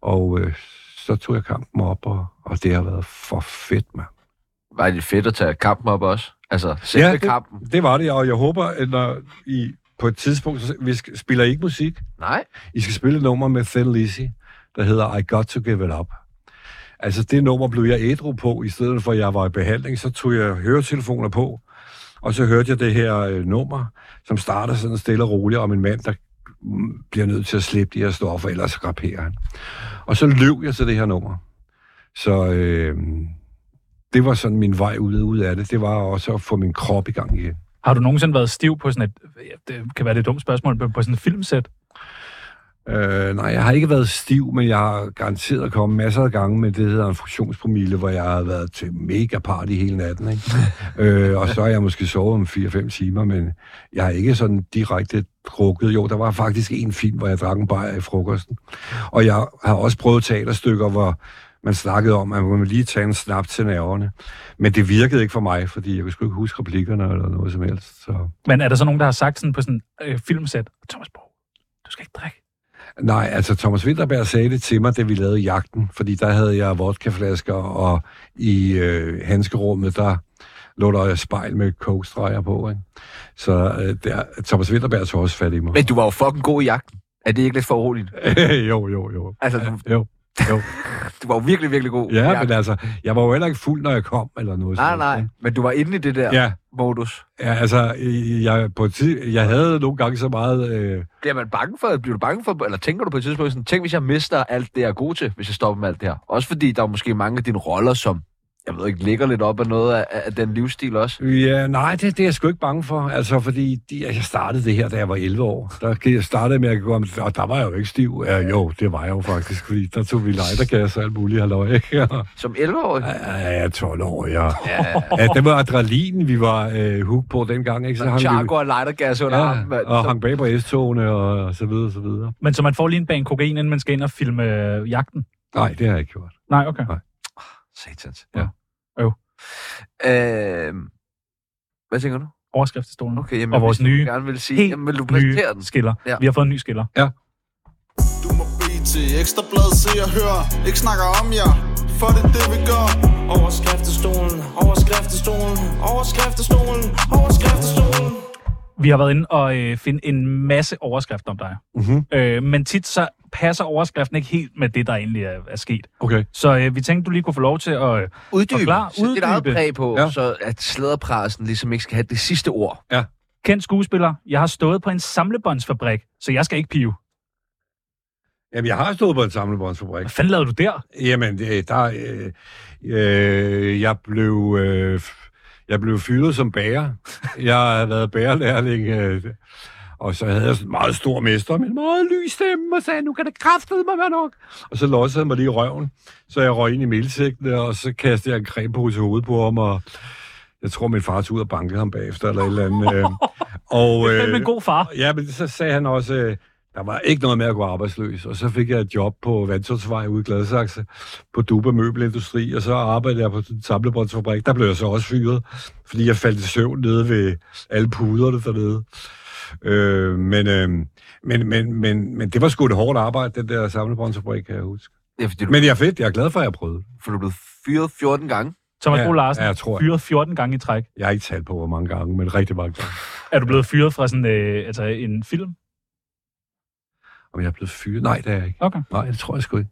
S3: Og øh, så tog jeg kampen op, og, og det har været for fedt, mand.
S1: Var det fedt at tage kampen op også? Altså, selve
S3: det,
S1: kampen?
S3: det var det, og jeg håber, at når I på et tidspunkt, så vi sk- spiller I ikke musik,
S1: Nej.
S3: I skal spille et nummer med Thin Lizzy, der hedder I Got To Give It Up. Altså det nummer blev jeg ædru på, i stedet for at jeg var i behandling, så tog jeg høretelefoner på, Og så hørte jeg det her øh, nummer, som starter sådan stille og roligt om en mand, der mm, bliver nødt til at slippe de her stoffer, ellers raperer han. Og så løb jeg til det her nummer. Så øh, det var sådan min vej ud, ud af det. Det var også at få min krop i gang igen.
S4: Har du nogensinde været stiv på sådan et, ja, det kan være det er et dumt spørgsmål, men på sådan et filmsæt?
S3: Øh, nej, jeg har ikke været stiv, men jeg har garanteret kommet masser af gange med det, der hedder en friktionspromille, hvor jeg har været til mega party hele natten. Ikke? øh, og så har jeg måske sovet om 4-5 timer, men jeg har ikke sådan direkte drukket. Jo, der var faktisk en film, hvor jeg drak en bajer i frokosten. Og jeg har også prøvet teaterstykker, hvor man snakkede om, at man ville lige tage en snap til nerverne. Men det virkede ikke for mig, fordi jeg kunne sgu ikke huske replikkerne eller noget som helst. Så.
S4: Men er der så nogen, der har sagt sådan på sådan et øh, filmsæt, Thomas Borg, du skal ikke drikke.
S3: Nej, altså Thomas Winterberg sagde det til mig, da vi lavede jagten, fordi der havde jeg vodkaflasker, og i øh, handskerummet, der lå der et spejl med kokstreger på, ikke? Så øh, der, Thomas Winterberg tog også fat i mig.
S1: Men du var jo fucking god i jagten. Er det ikke lidt for roligt?
S3: jo, jo, jo.
S1: Altså, du,
S3: Jo, jo.
S1: du var jo virkelig, virkelig god i
S3: Ja,
S1: jagten.
S3: men altså, jeg var jo heller ikke fuld, når jeg kom, eller noget.
S1: Nej,
S3: sådan noget,
S1: nej, men du var inde i det der
S3: ikke? Ja,
S1: modus.
S3: ja altså, øh, jeg, på et tid, jeg havde nogle gange så meget... Øh,
S1: Bliver man bange for, bliver du bange for, eller tænker du på et tidspunkt sådan, tænk hvis jeg mister alt det, jeg er god til, hvis jeg stopper med alt det her? Også fordi der er måske mange af dine roller, som, jeg ved ikke, ligger lidt op af noget af, af den livsstil også.
S3: Ja, nej, det, det er jeg sgu ikke bange for. Altså, fordi de, jeg startede det her, da jeg var 11 år. Der kan- jeg startede med at gå om, og der var jeg jo ikke stiv. Ja, jo, det var jeg jo faktisk, fordi der tog vi lejdergas og alt muligt halløj. ikke? Og-
S1: Som 11-årig?
S3: Ja, jeg er 12 år, ja.
S1: Ja,
S3: ja. det var adrenalin, vi var øh, hook på dengang, ikke? Så hang vi,
S1: Chargo og lightergas under ja, armen.
S3: ja,
S1: mand.
S3: og
S1: Så-
S3: hang bag på S-togene og, og så videre, så videre.
S4: Men så man får lige en bane kokain, inden man skal ind og filme øh, jagten?
S3: Nej, det har jeg ikke gjort.
S4: Nej, okay.
S1: Satans.
S3: Ja.
S4: Øv.
S1: Øh, hvad tænker du?
S4: Overskriftestolen.
S1: Okay, jamen,
S4: Og vores
S1: hvis du
S4: nye,
S1: gerne vil sige,
S4: Helt
S1: jamen, vil du præsentere
S4: nye
S1: den?
S4: skiller.
S1: Ja.
S4: Vi har fået en ny skiller.
S7: Du må bede til ekstrablad, se og hør. Ikke snakker om jer, for det er det, vi gør.
S6: Overskriftestolen, overskriftestolen, overskriftestolen, overskriftestolen.
S4: Vi har været inde og øh, finde en masse overskrifter om dig.
S3: Mhm.
S4: Øh, men tit så passer overskriften ikke helt med det, der egentlig er, er sket.
S3: Okay.
S4: Så øh, vi tænkte, du lige kunne få lov til at... Øh,
S1: Uddybe.
S4: Forklar,
S1: Sæt dit eget
S4: uddybe.
S1: præg på, ja.
S3: Ja.
S1: så at slæderpressen ligesom ikke skal have det sidste ord.
S4: kendt skuespiller, jeg har stået på en samlebåndsfabrik, så jeg skal ikke pive.
S3: Jamen, jeg har stået på en samlebåndsfabrik.
S4: Hvad fanden lavede du der?
S3: Jamen, det- der, øh, øh, jeg blev... Øh, f- jeg blev fyret som bager. Jeg har været bagerlærling, øh, og så havde jeg sådan en meget stor mester med en meget lys stemme, og sagde, nu kan det kraftede mig være nok. Og så lossede han mig lige i røven, så jeg røg ind i meldsækkene, og så kastede jeg en cremepose i hovedet på ham, og jeg tror, min far tog ud og bankede ham bagefter, eller et eller andet. Øh. Og, øh,
S4: Det er fandme en god far.
S3: Ja, men så sagde han også, øh, der var ikke noget med at gå arbejdsløs. Og så fik jeg et job på Vandtorvsvej ude i Gladsaxe på Duba Møbelindustri, og så arbejdede jeg på sådan en samlebåndsfabrik. Der blev jeg så også fyret, fordi jeg faldt i søvn nede ved alle puderne dernede. Øh, men, øh, men, men, men, men det var sgu et hårdt arbejde, den der samlebåndsfabrik, kan jeg huske.
S1: Ja, fordi du,
S3: Men jeg er fedt, jeg er glad for, at jeg prøvede.
S1: for du er blevet fyret 14 gange.
S4: Thomas
S3: Ja,
S4: Bo Larsen,
S3: ja, jeg tror jeg.
S4: fyret 14 gange i træk.
S3: Jeg har ikke talt på, hvor mange gange, men rigtig mange gange.
S4: Er du blevet fyret fra sådan øh, altså en film?
S3: Om jeg er blevet fyret? Nej, det er jeg ikke.
S4: Okay.
S3: Nej, det tror jeg sgu ikke.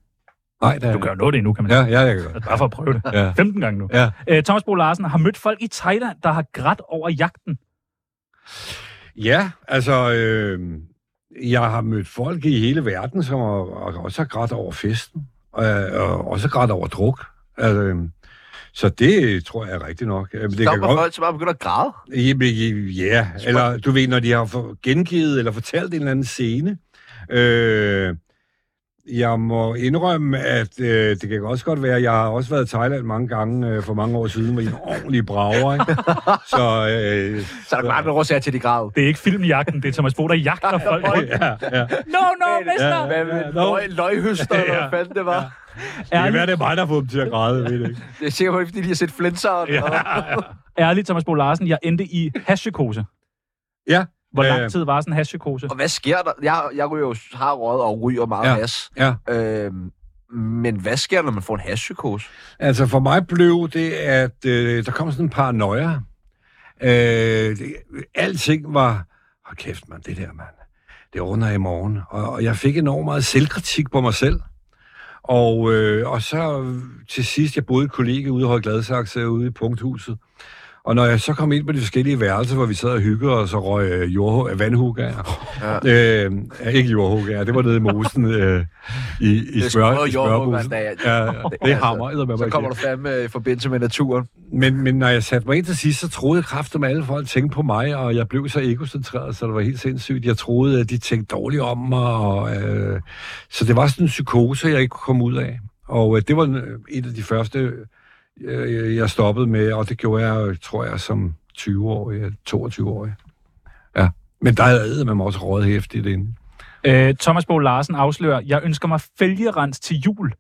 S3: Nej, det er
S4: Du
S3: jeg
S4: gør jo noget af det nu, kan man
S3: ikke. Ja, ja, jeg gør.
S4: sige. Bare for at prøve det.
S3: Ja.
S4: 15 gange nu.
S3: Ja.
S4: Øh, Thomas Bo Larsen har mødt folk i Thailand, der har grædt over jagten.
S3: Ja, altså, øh, jeg har mødt folk i hele verden, som har, og også har grædt over festen, og, og også grædt over druk. Altså, øh, så det tror jeg er rigtigt nok. Øh, men Det
S1: Stopper folk, så bare begynder at græde.
S3: Jamen, ja, eller du ved, når de har for- gengivet eller fortalt en eller anden scene. Øh, jeg må indrømme, at øh, det kan også godt være, jeg har også været i Thailand mange gange øh, for mange år siden, med en ordentlig brager, ikke? Så, øh,
S1: Så er der bare en årsager til, at de græder.
S4: Det er ikke filmjagten, det er Thomas Bo, der jagter folk. rundt.
S3: ja, ja.
S4: No, no, mister!
S3: Ja,
S1: Hvad med
S3: ja, no.
S1: løg, løghøster, eller hvad fanden det var?
S3: Det kan
S4: Ærligt,
S3: være, det er mig, der får dem til at græde, ved det ikke.
S1: Det er sikkert, fordi de har set Flintsound. Ja.
S4: ærligt, Thomas Bo Larsen, jeg endte i hashpsykose.
S3: Ja.
S4: Hvor
S3: Øh,
S4: lang tid var sådan en hashpsykose?
S1: Og hvad sker der? Jeg, jeg ryger jo, har røget og ryger meget ja.
S3: Ja.
S1: has.
S3: Ja.
S1: Øhm, men hvad sker der, når man får en hashpsykose?
S3: Altså, for mig blev det, at øh, der kom sådan en paranoia. Øh, det, alting var, hold kæft, mand, det der, mand. Det runder i morgen. Og, og jeg fik enormt meget selvkritik på mig selv. Og, øh, og så øh, til sidst, jeg boede i et kollega ude i Høje Gladsaxe, ude i Punkthuset. Og når jeg så kom ind på de forskellige værelser, hvor vi sad og hyggede os og røg øh, jord, vandhugager. Ja. Øh, ikke jordhugager, det var nede i mosen øh, i, i
S1: Jeg
S3: smør,
S1: skulle prøve
S3: i smørmosen.
S1: jordhugger en dag.
S3: Ja, ja, det altså- hammer.
S1: Så kommer du fandme øh, i forbindelse med naturen.
S3: Men, men når jeg satte mig ind til sidst, så troede jeg kraft om alle folk tænkte på mig, og jeg blev så egocentreret, så det var helt sindssygt. Jeg troede, at de tænkte dårligt om mig, og, øh, så det var sådan en psykose, jeg ikke kunne komme ud af. Og øh, det var en- et af de første, øh, jeg stoppede med, og det gjorde jeg, øh, tror jeg, som 20-årig, 22-årig. Ja, men der havde man også råd hæftigt inden.
S4: Øh, Thomas Bo Larsen afslører, jeg ønsker mig fælgerens til jul.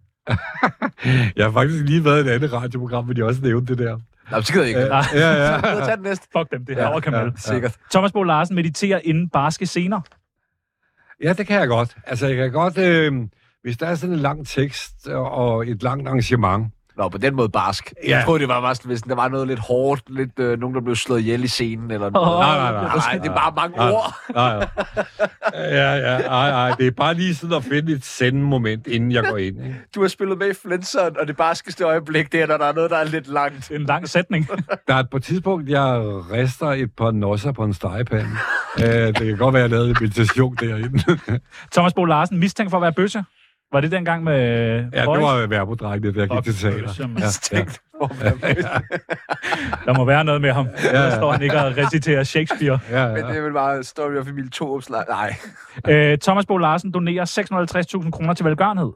S3: Jeg har faktisk lige været i et andet radioprogram, hvor de også nævnte det der.
S1: Nej, så gider jeg ikke.
S4: Nej.
S3: Ja, ja.
S1: Nå, Tag den næste.
S4: Fuck dem, det her ja,
S3: ja.
S4: overkammel. Ja,
S1: Sikkert.
S4: Thomas Bo Larsen mediterer inden barske scener.
S3: Ja, det kan jeg godt. Altså, jeg kan godt... Øh, hvis der er sådan en lang tekst og- og et langt arrangement,
S1: Nå, på den måde barsk. Ja.
S3: Ja.
S1: Jeg troede, det var bare sådan, hvis der var noget lidt hårdt, lidt øh, nogen, der blev slået ihjel i scenen eller noget.
S4: Åh,
S3: nej, nej.
S1: Nej, det er bare mange
S3: Nej.
S1: ord.
S3: Nej, nej. Ja, ja, nej, nej. Det er bare lige sådan at finde et sendmoment, inden jeg går ind. Ikke?
S1: Du har spillet med i Flintstone, og det barskeste øjeblik, det er, når der er noget, der er lidt langt.
S4: En lang sætning.
S3: Der er et- på et tidspunkt, jeg rister et par nosser på en stegepande. Øh, det kan godt være, at jeg lavede en meditation derinde.
S4: Thomas Bo Larsen mistænkt for at være bøsse. Var det dengang med
S3: ja, det var værbodrækket, jeg gik til teater.
S4: Ja.
S1: Ja.
S4: Der må være noget med ham. Ja, ja. Der står han ikke og reciterer Shakespeare.
S3: Ja,
S1: Men øh,
S3: ja.
S1: det er vel bare Story of Emil Thorups lej- Nej.
S4: Øh, Thomas Bo Larsen donerer 650.000 kroner til velgørenhed.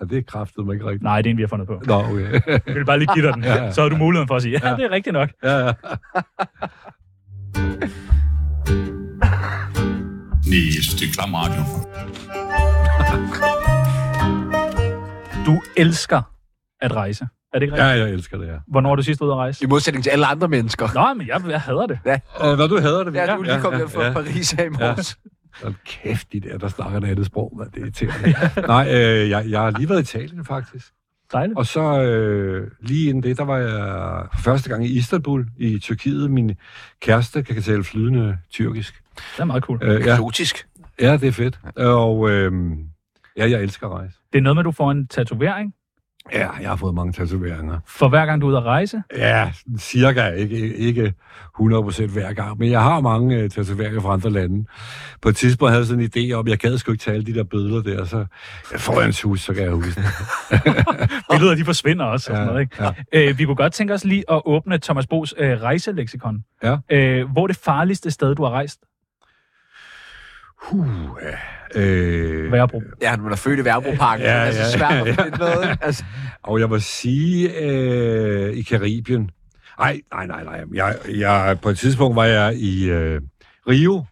S3: ja det kræftede mig ikke rigtigt.
S4: Nej, det er en, vi har fundet på.
S3: Nå, okay.
S4: Jeg vil bare lige give dig den.
S3: Ja.
S4: Så har du muligheden for at sige, ja, det er rigtigt nok.
S3: Ja, ja.
S9: Nej, jeg synes, det er klam radio.
S4: Du elsker at rejse. Er det ikke rigtigt?
S3: ja, jeg elsker det, ja.
S4: Ja. Hvornår er du sidst ude at rejse?
S1: I modsætning til alle andre mennesker.
S4: Nå, men jeg, jeg hader det.
S3: Øh, hvad du hader det?
S1: Ja, du er lige kommet hjem fra
S3: ja.
S1: Paris her i morges.
S3: Hold kæft, de der, der snakker et andet sprog, hvad det er irriterende. Nej, øh, jeg, jeg har lige været i Italien, faktisk.
S4: Dejligt.
S3: Og så øh, lige inden det, der var jeg første gang i Istanbul i Tyrkiet. Min kæreste kan tale flydende tyrkisk.
S4: Det er meget cool.
S3: Øh, ja,
S1: Eksotisk.
S3: ja, det er fedt. Og øh, ja, jeg elsker at rejse.
S4: Det er noget med, at du får en tatovering.
S3: Ja, jeg har fået mange tatoveringer.
S4: For hver gang du er ude at rejse,
S3: Ja, sådan cirka. Ikke, ikke 100% hver gang. Men jeg har mange øh, tatoveringer fra andre lande. På et tidspunkt havde jeg sådan en idé om, at jeg gad sgu ikke tale de der bødler der. Så får jeg en hus, så kan jeg huske det.
S4: billeder de forsvinder også. Og sådan
S3: Ja,
S4: noget, ikke? Ja. Øh, vi kunne godt tænke os lige at åbne Thomas Bo's øh, rejseleksikon.
S3: Ja.
S4: Øh, hvor er det farligste sted, du har rejst?
S3: Huh, ja. øh,
S4: Værebro.
S1: Ja, han var da født i Værbroparken.
S3: Ja,
S1: Ja, ja, det er så
S3: ja,
S1: svært at
S3: ja.
S1: finde noget. ikke? Altså,
S3: Og jeg må sige, øh, i Karibien. Ej, nej, nej, nej. Jeg, jeg, på et tidspunkt var jeg i øh, Rio.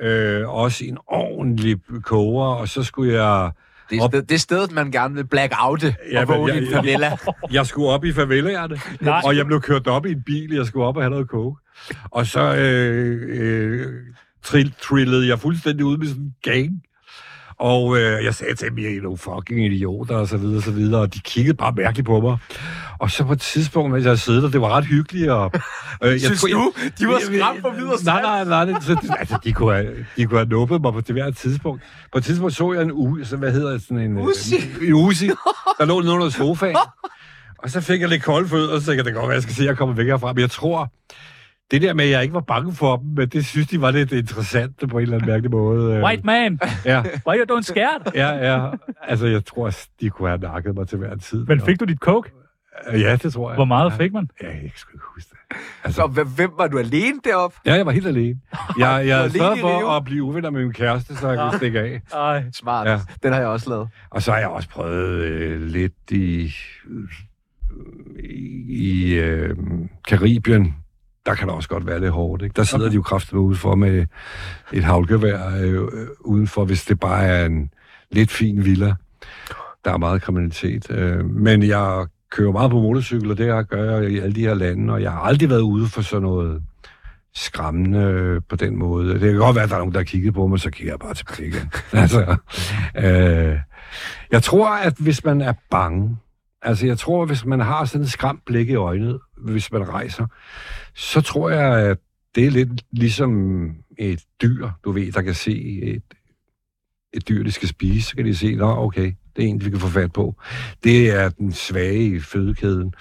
S3: Øh, også i en ordentlig koger, og så skulle jeg...
S1: det, er
S3: Op.
S1: sted, det er stedet, man gerne vil black oute
S3: Ja,
S1: og
S3: men
S1: vågne i
S3: jeg-
S1: en
S3: jeg-
S1: favela.
S3: Jeg skulle op i favelaerne,
S4: Nej.
S3: og jeg blev kørt op i en bil, jeg skulle op og have noget coke. Og så øh, øh, trill, trillede jeg fuldstændig ud med sådan en gang. Og øh, jeg sagde til dem, jeg er nogle fucking idioter, og så videre, så videre. Og de kiggede bare mærkeligt på mig. Og så på et tidspunkt, mens jeg sidder der, det var ret hyggeligt. Og, øh, jeg
S1: Synes
S3: tror, jeg-
S1: du, de var skræmt for videre
S3: Nej, nej, nej. nej så, altså, de kunne, have, de kunne have nuppet mig på det hvert tidspunkt. På et tidspunkt så jeg en uge, så hvad hedder det, sådan en... øh,
S1: Uzi.
S3: En usi. Der lå den under sofaen. Og så fik jeg lidt kolde fødder, og så tænkte jeg, det kan godt være, jeg skal se, at jeg kommer væk herfra. Men jeg tror, det der med, at jeg ikke var bange for dem, men det synes de var lidt interessant på en eller anden mærkelig måde. Øh,
S4: White man,
S3: Ja,
S4: why you don't scared?
S3: ja, ja. Altså, jeg tror, de kunne have nakket mig til hver en tid.
S4: Men fik du dit coke?
S3: Ja, det tror jeg.
S4: Hvor meget fik man?
S3: Ja, jeg kan sgu ikke huske det. Altså,
S1: Så hvem- hvem var du alene deroppe?
S3: Ja, jeg var helt alene. Jeg,
S1: Du var
S3: jeg sørgede
S1: alene i Rio?
S3: for at blive uvenner med min kæreste, så jeg kunne stikke af.
S4: Ej.
S1: Smart. Ja.
S3: Ja.
S1: Den har jeg også lavet.
S3: Og så har jeg også prøvet øh, lidt i, i øh, Karibien. Der kan det også godt være lidt hårdt. Ikke? Der sidder okay. de jo kraftigt ude for med et havlgevær øh, øh, udenfor, hvis det bare er en lidt fin villa. Der er meget kriminalitet. Øh, men jeg kører meget på motorcykel, og det har- gør jeg i alle de her lande, og jeg har aldrig været ude for sådan noget skræmmende øh, på den måde. Det kan godt være, at der er nogen, der har kigget på mig, så kigger jeg bare tilbage igen. altså, øh, jeg tror, at hvis man er bange, altså jeg tror, at hvis man har sådan et skræmt blik i øjnene, hvis man rejser, så tror jeg, at det er lidt ligesom et dyr, du ved, der kan se et, et dyr, det skal spise, så kan de se, nå okay, Det er en, vi kan få fat på. Det er den svage i fødekæden.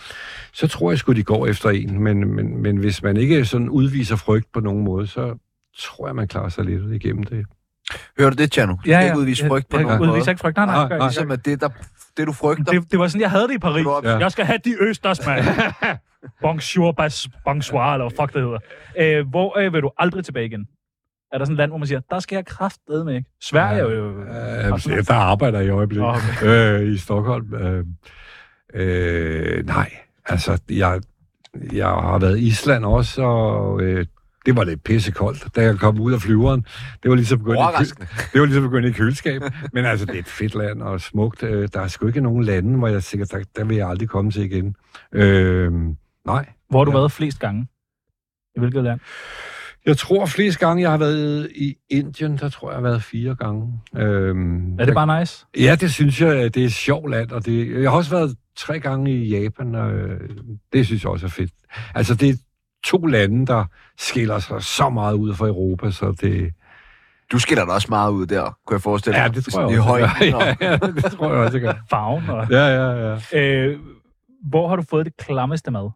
S3: Så tror jeg sgu, de går efter en, men, men, men hvis man ikke sådan udviser frygt på nogen måde, så tror jeg, man klarer sig lidt igennem det.
S1: Hører du det, Tjerno? Du skal
S4: Ja, ja.
S1: ikke udvise frygt på
S4: jeg,
S1: nogen
S4: jeg
S1: måde.
S4: udviser ikke frygt. Nej, nej,
S3: Nej,
S4: det gør jeg
S3: nej.
S4: ikke.
S1: Ligesom at det, der, det du frygter,
S4: Det, det var sådan, jeg havde det i Paris.
S1: Ja.
S4: Jeg skal have de østers, mand. Bonjour, bas, bonsoir, eller hvad fuck det hedder. Øh, hvor øh, vil du aldrig tilbage igen? Er der sådan et land, hvor man siger, der skal jeg kraftedme ikke? Sverige er jo...
S3: Øh, der arbejder jeg i øjeblikket
S4: Nå,
S3: okay. øh, i Stockholm. Øh, øh, nej, altså, jeg, jeg har været i Island også, og øh, det var lidt pissekoldt, da jeg kom ud af flyveren. Det var ligesom begyndt, i,
S1: Overraskende.
S3: kø- det var ligesom begyndt i køleskab, men altså, det er et fedt land og smukt. Øh, der er sgu ikke nogen lande, hvor jeg tænker, der, der vil jeg aldrig komme til igen. Øh, nej.
S4: Hvor har du
S3: Ja.
S4: været flest gange? I hvilket land?
S3: Jeg tror, flest gange, jeg har været i Indien, der tror jeg, jeg har været fire gange. Øhm,
S4: Er det bare nice?
S3: Ja, det synes jeg, at det er et sjovt land, og det, jeg har også været tre gange i Japan, og øh, det synes jeg også er fedt. Altså, det er to lande, der skiller sig så meget ud fra Europa, så det...
S1: du skiller dig også meget ud der, kunne jeg forestille mig.
S3: Ja, det tror
S1: Sådan
S3: jeg
S1: i
S3: også.
S1: højden
S3: jeg gør.
S1: og-
S3: Ja, ja, det tror jeg også, jeg gør.
S4: Farven og...
S3: Ja, ja, ja.
S4: Øh, hvor har du fået det klammeste mad?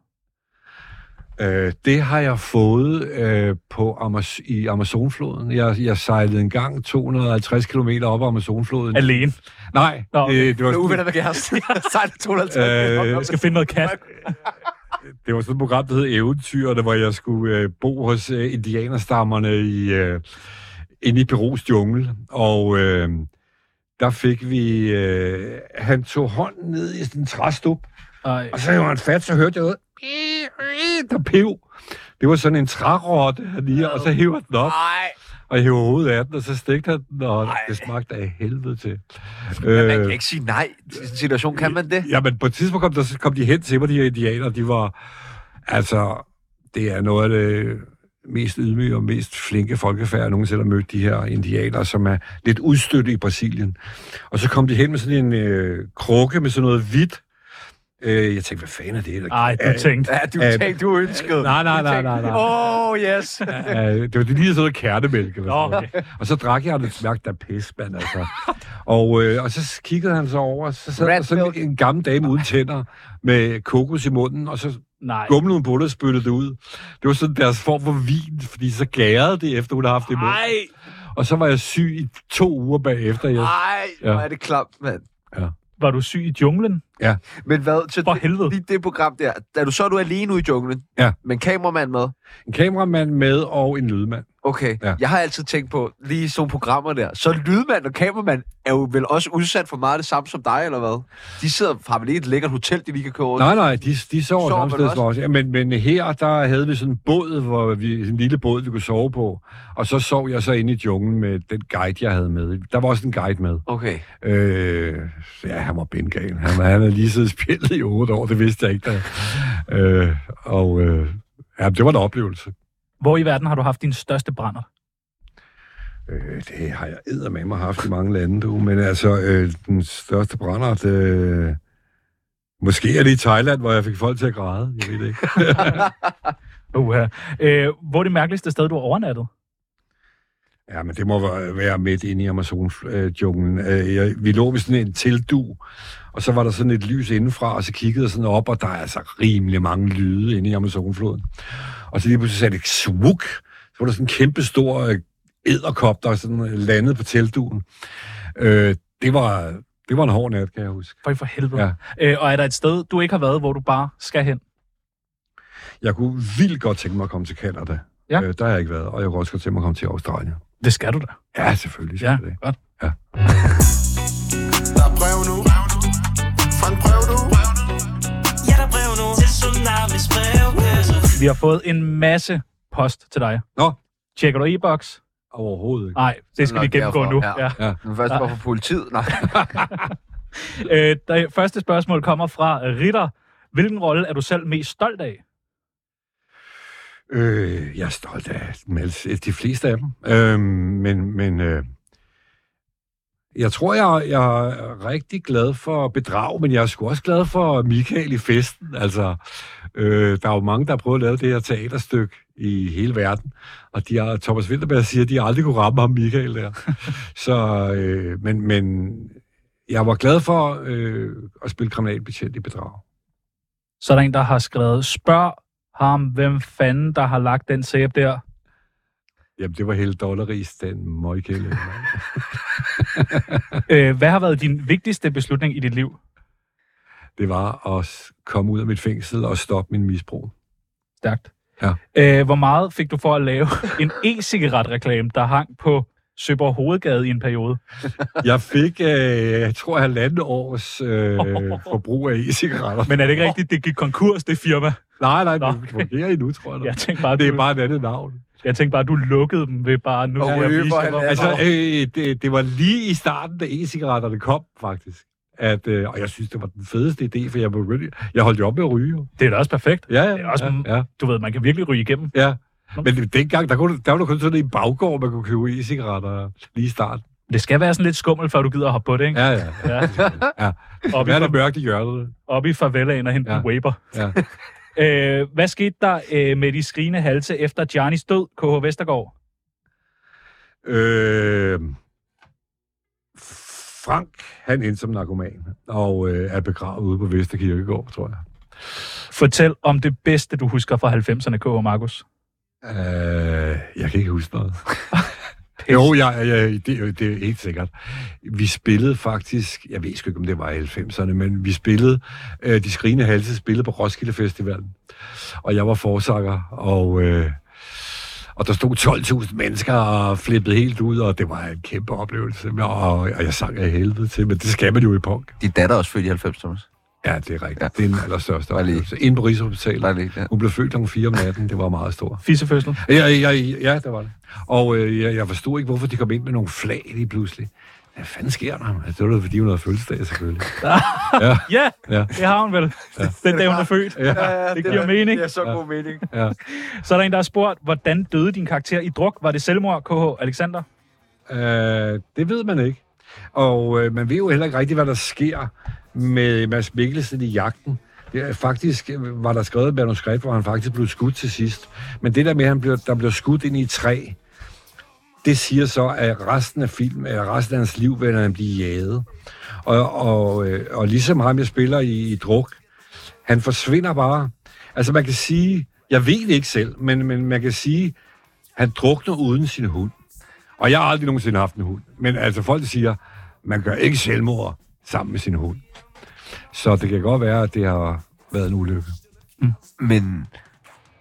S3: Øh, det har jeg fået øh, på Amaz- i Amazonfloden. Jeg, jeg sejlede en gang 250 km op ad Amazonfloden.
S4: Alene.
S3: Nej,
S4: Nå, okay.
S3: det, det, var,
S1: Med uvenner
S3: det,
S1: med kæresten. Sejt 250.
S3: Øh,
S4: Jeg skal finde noget kat.
S3: det var sådan et program, der hed Eventyrene, hvor jeg skulle øh, bo hos øh, indianerstammerne i... Øh, inde i Perus jungle, og øh, der fik vi... Øh, han tog hånden ned i sådan en træstup,
S4: Ej.
S3: og så var han fat, så hørte jeg noget. Der pev. Det var sådan en trærotte, han lige, og så hiver den op,
S1: Nej.
S3: og hiver hovedet af den, og så stegte han den, og det smagte af helvede til.
S1: Man
S3: Øh,
S1: kan ikke sige nej til sådan en situation, kan man det?
S3: Ja, men på et tidspunkt kom, der, så kom de hen til mig, de her indianer, de var, altså, det er noget af det mest ydmyge og mest flinke folkefærd, jeg nogensinde har mødt de her indianere, som er lidt udstøtte i Brasilien. Og så kom de hen med sådan en øh, krukke med sådan noget hvidt. Øh, jeg tænkte, hvad fanden er det? Eller,
S4: Ej, du tænkte.
S1: Ja, du
S3: Øh,
S1: tænkte, du ønskede.
S3: Nej, nej, nej, nej, nej.
S1: Oh, yes.
S3: Øh, det var det lige sådan noget kærtemælk. Eller sådan
S4: Nå,
S3: noget. Og så drak jeg, og det smagte af pis, mand, altså. Og, øh, og så kiggede han så over, så sad
S1: Rat
S3: der sådan
S1: milk.
S3: en gammel dame uden tænder med kokos i munden, og så
S4: Nej.
S3: gumlede hun på det og spyttede det ud. Det var sådan deres form for vin, fordi så gærede det, efter hun havde haft det i munden.
S4: Nej.
S3: Og så var jeg syg i to uger bagefter. Jeg...
S1: Nej,
S3: Ja.
S1: hvor er det klamt, mand.
S4: Var du syg i junglen?
S1: Men hvad, så
S4: For
S1: det,
S4: helvede.
S1: lige det program der, er du, så er du alene ude i junglen,
S3: Ja.
S1: men kameramand med.
S3: En kameramand med og en lydmand.
S1: Okay,
S3: Ja.
S1: ja. jeg har altid tænkt på, lige sådan nogle programmer der, så lydmand og kameramand er jo vel også udsat for meget af det samme som dig, eller hvad? De sidder, har vel ikke et lækkert hotel, de lige kan køre over?
S3: Nej, nej, de, de sover
S1: Sover man
S3: samme sted
S1: også?
S3: som os. Ja, Men, men her, der havde vi sådan en båd, hvor vi, en lille båd, vi kunne sove på. Og så sov jeg så inde i junglen med den guide, jeg havde med. Der var også en guide med.
S1: Okay.
S3: Øh, ja, han var bengal. Han, han havde lige siddet spillet i otte år, det vidste jeg ikke. Da. Øh, og øh, ja, det var en oplevelse.
S4: Hvor i verden har du haft din største brænder?
S3: Øh, det har jeg eddermame haft i mange lande, du. Men altså, øh, den største brændert... Øh, måske er det i Thailand, hvor jeg fik folk til at græde. Jeg ved det ikke.
S4: Uha. Øh, hvor er det mærkeligste sted, du har overnattet?
S3: Ja, men det må være- være midt inde i Amazon-junglen. Øh, jeg- vi lå ved sådan en tildu, og så var der sådan et lys indenfra, og så kiggede jeg sådan op, og der er altså rimelig mange lyde inde i Amazonfloden. Og så lige pludselig sagde det svuk, så var der sådan en kæmpe stor æderkop, der sådan øh, landede på teltduen. Øh, det, var, det var en hård nat, kan jeg huske.
S4: For, for helvede. Ja. Øh, og er der et sted, du ikke har været, hvor du bare skal hen?
S3: Jeg kunne vildt godt tænke mig at komme til Kanada.
S4: Ja.
S3: Øh, der har jeg ikke været, og jeg kunne også godt tænke mig at komme til Australien.
S4: Det skal du da.
S3: Ja, selvfølgelig.
S4: Ja,
S3: selvfølgelig.
S4: godt.
S7: Der er brev nu Fra en brev du
S6: Ja, der er brev nu til Tsunamis brevkasse.
S4: Vi har fået en masse post til dig.
S3: Nå.
S4: Tjekker du e-boks?
S3: Overhovedet ikke.
S4: Nej, det skal
S1: nok
S4: vi gennemgå
S1: derfor,
S4: nu.
S1: ja. Men først bare for politiet. Nej.
S4: Øh, det første spørgsmål kommer fra øh, Ritter. Hvilken rolle er du selv mest stolt af?
S3: Øh, jeg er stolt af dem alle- de fleste af dem. Øh, men men øh, jeg tror, jeg, jeg er rigtig glad for bedrag, men jeg er sgu også glad for Michael i festen. Altså, øh, der er jo mange, der har prøvet at lave det her teaterstykke i hele verden, og de har, Thomas Winterberg siger, at de aldrig kunne ramme ham, Michael, der. Så, øh, men, men jeg var glad for øh, at spille kriminalbetjent i bedrag.
S4: Så er der en, der har skrevet, spørg ham, hvem fanden, der har lagt den sæbe der.
S3: Jamen, det var helt dollaris, den møgkælde. mand.
S4: Øh, hvad har været din vigtigste beslutning i dit liv?
S3: det var at s- komme ud af mit fængsel og stoppe min misbrug.
S4: Stærkt.
S3: Ja.
S4: Øh, hvor meget fik du for at lave en e-cigaret-reklame, der hang på Søborg Hovedgade i en periode?
S3: Jeg fik, øh, jeg tror, halvandet års øh, forbrug af e-cigaretter.
S4: Men er det ikke rigtigt, det gik konkurs, det firma?
S3: Nej, nej,
S4: Nå.
S3: det fungerer endnu, tror jeg.
S4: Jeg
S3: Ja.
S4: tænkte bare,
S3: Det er
S4: du,
S3: bare et andet navn.
S4: jeg tænkte bare, du lukkede dem ved bare... Nu
S1: Og
S4: skal jeg
S1: ryge
S4: vise
S1: for
S4: dig, hvor-
S1: halvanden
S3: Altså,
S1: Nå.
S3: øh, det, det var lige i starten, da e-cigaretterne kom, faktisk. At, øh, og jeg synes, det var den fedeste idé, for jeg, var really, jeg holdt jo op med at ryge. jo.
S4: Det er da også perfekt.
S3: Ja, ja,
S4: Det er også-
S3: ja, ja,
S4: Du ved, man kan virkelig ryge igennem.
S3: ja. Men dengang, der, kunne, der var der kun sådan en baggård, man kunne købe e-cigaretter lige i starten.
S4: Det skal være sådan lidt skummelt, før du gider at hoppe på det, ikke?
S3: Ja, ja.
S4: Ja.
S3: ja. Og
S4: Oppe,
S3: hvad er der
S4: i,
S3: mørkt i hjørnet?
S4: oppe i favelaen og hente ja.
S3: Ja.
S4: en waber.
S3: Ja.
S4: Øh, hvad skete der øh, med de skrigende halse efter Giannis død, KH Vestergaard?
S3: Øh, Frank, han endte som narkoman, og øh, er begravet ude på Vesterkirkegård, tror jeg.
S4: Fortæl om det bedste, du husker fra 90'erne, KH Markus.
S3: Øh, jeg kan ikke huske noget. jo, jeg, jeg, det, det er helt sikkert. Vi spillede faktisk, jeg ved sgu ikke, om det var i 90'erne, men vi spillede, øh, De Skrigende Halse spillede på Roskilde Festivalen. Og jeg var forsanger, og, øh, og der stod 12.000 mennesker og flippede helt ud, og det var en kæmpe oplevelse. Og, og jeg sang af helvede til, men det skal man jo i punk.
S1: Din datter er også født i 90, Thomas.
S3: Ja, det er rigtigt.
S1: Ja.
S3: Ja. Det er den allerstørste
S1: Bare lige-
S3: oplevelse. Inde på Rigshospitalet.
S1: Dejligt, ja.
S3: Hun blev født kl. 4 om natten, det var meget stort.
S4: Fissefødsel.
S3: Ja, ja, ja, ja, der var det. Og øh, jeg, jeg forstod ikke, hvorfor de kom ind med nogle flag lige pludselig. Hvad fanden sker der? Altså, det var da, fordi hun havde fødselsdag, selvfølgelig. ja,
S4: Ja,
S3: ja,
S4: det har hun vel. Ja. Den dag, hun er født.
S3: ja,
S4: det giver mening.
S1: Det er så god mening.
S3: ja.
S4: Så er der en, der har spurgt, hvordan døde din karakter i druk? Var det selvmord, KH Alexander?
S3: Øh, det ved man ikke. Og øh, man ved jo heller ikke rigtigt, hvad der sker med Mads Mikkelsen i jagten. Det er, faktisk øh, var der skrevet et manuskript, hvor han faktisk blev skudt til sidst. Men det der med, at han blev, der blev skudt ind i et træ, det siger så, at resten af, film, eller resten af hans liv vil han blive jaget. Og, og, øh, og ligesom ham, jeg spiller i, i druk, han forsvinder bare. Altså man kan sige, jeg ved det ikke selv, men, men man kan sige, han drukner uden sin hund. Og jeg har aldrig nogensinde haft en hund. Men altså, folk siger, man gør ikke selvmord sammen med sin hund. Så det kan godt være, at det har været en ulykke.
S1: Men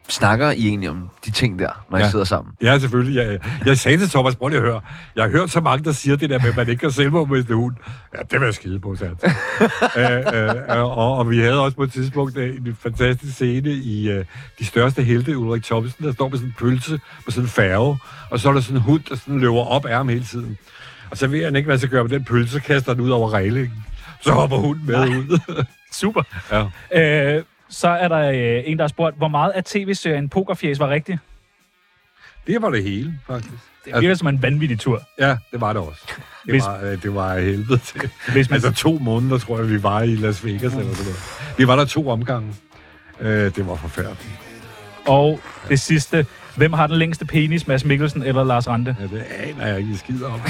S1: snakker I egentlig om de ting der, når ja. I
S3: Ja.
S1: sidder sammen?
S3: Ja, selvfølgelig. Jeg, jeg sagde til Thomas, prøv lige at høre. Jeg har hørt så mange, der siger det der med, at man ikke gør selvmord med sin hund. Ja, det var jeg skide på, sagde han. øh, øh, og, og vi havde også på et tidspunkt øh, en fantastisk scene i øh, De Største Helte, Ulrik Thomsen, der står med sådan en pølse på sådan en færge, og så er der sådan en hund, der sådan løber op af ham hele tiden. Og så ved han ikke, hvad han skal gøre med den pølse, så kaster han ud over reglingen. Så hopper hunden med ud.
S4: Super.
S3: ja.
S4: Øh, så er der øh, en, der har spurgt, hvor meget af tv-serien Pokerfjes var rigtig?
S3: Det var det hele, faktisk.
S4: Det virker som en vanvittig tur.
S3: Ja, det var det også. Det,
S4: Hvis-
S3: Hvis... var, øh, det var af helvede til.
S4: Hvis man-
S3: Altså to måneder, tror jeg, vi var i Las Vegas eller sådan noget. Vi var der to omgange. Øh, det var forfærdeligt.
S4: Og det sidste, hvem har den længste penis, Mads Mikkelsen eller Lars Rante?
S3: Ja, det aner jeg ikke skid om.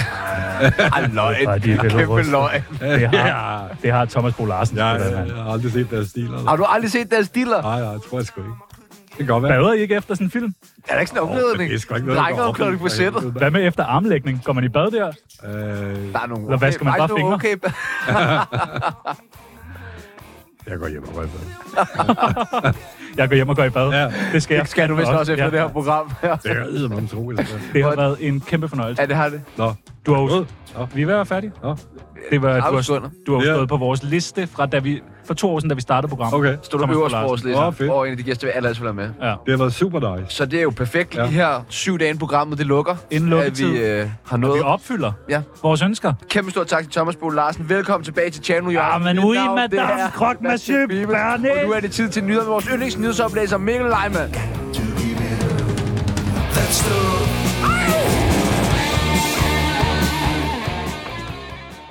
S1: Ej, løgn.
S4: Bare de er
S1: Kæmpe
S4: velrustet.
S1: løgn.
S4: Det har,
S3: Ja.
S4: det har Thomas Bo Larsen.
S3: Jeg,
S4: det der,
S3: jeg,
S4: mand.
S3: jeg har aldrig set deres stil. Eller.
S1: Har du aldrig set deres stiller?
S3: Nej, nej, det tror jeg sgu ikke. Det kan godt være.
S4: Bader I ikke efter sådan en film?
S1: Er der ikke sådan en omklædning?
S3: det er sgu ikke noget, der
S1: Lange
S3: går op i,
S1: omklædning på
S3: for
S1: sættet.
S3: helvede.
S4: Hvad med efter armlægning? Går man i bad der?
S1: Der
S3: Øh,
S1: er nogle
S4: Eller vasker man
S1: Ej,
S4: bare
S1: nogle
S4: fingre?
S1: Okay.
S3: jeg går hjem og rører mig.
S4: Jeg går hjem og går i bad.
S3: Ja.
S4: Det skal jeg.
S1: Det skal du vist også efter
S4: Ja.
S1: det her program. her.
S3: Det er æder, man tror. jeg skal.
S4: Det har været en kæmpe fornøjelse.
S1: Ja, det har det.
S3: Nå,
S4: Du har jo...
S3: Nå.
S4: Vi er ved at være færdige.
S3: Nå.
S4: Det var, du, har,
S1: Afstunder.
S4: du har jo
S3: Ja.
S4: stået på vores liste fra da vi, for to år siden, da vi startede programmet.
S3: okay.
S1: Stod du
S4: Thomas
S1: øverst på
S4: Larsen.
S1: vores liste,
S3: Åh, fedt.
S1: og en af de gæster, vi allerede vil have med.
S4: Ja.
S3: Det har været super nice.
S1: Så det er jo perfekt
S3: Ja.
S1: lige her syv dage inden programmet, det lukker.
S4: Inden
S1: at vi
S4: lukketid.
S1: øh, har
S4: Vi
S1: noget.
S4: opfylder
S1: Ja.
S4: vores ønsker.
S1: Kæmpe stor tak til Thomas Bo Larsen. Velkommen tilbage til Channel Jørgen.
S4: Ja, men
S1: Mit
S4: ui,
S1: navn, det
S4: madame,
S1: er
S4: croque,
S1: Sebastian
S4: monsieur
S1: Bibels.
S4: Bernet.
S1: Og nu er det tid til nyheder med vores yndlingsnyhedsoplæser Mikkel Leimann.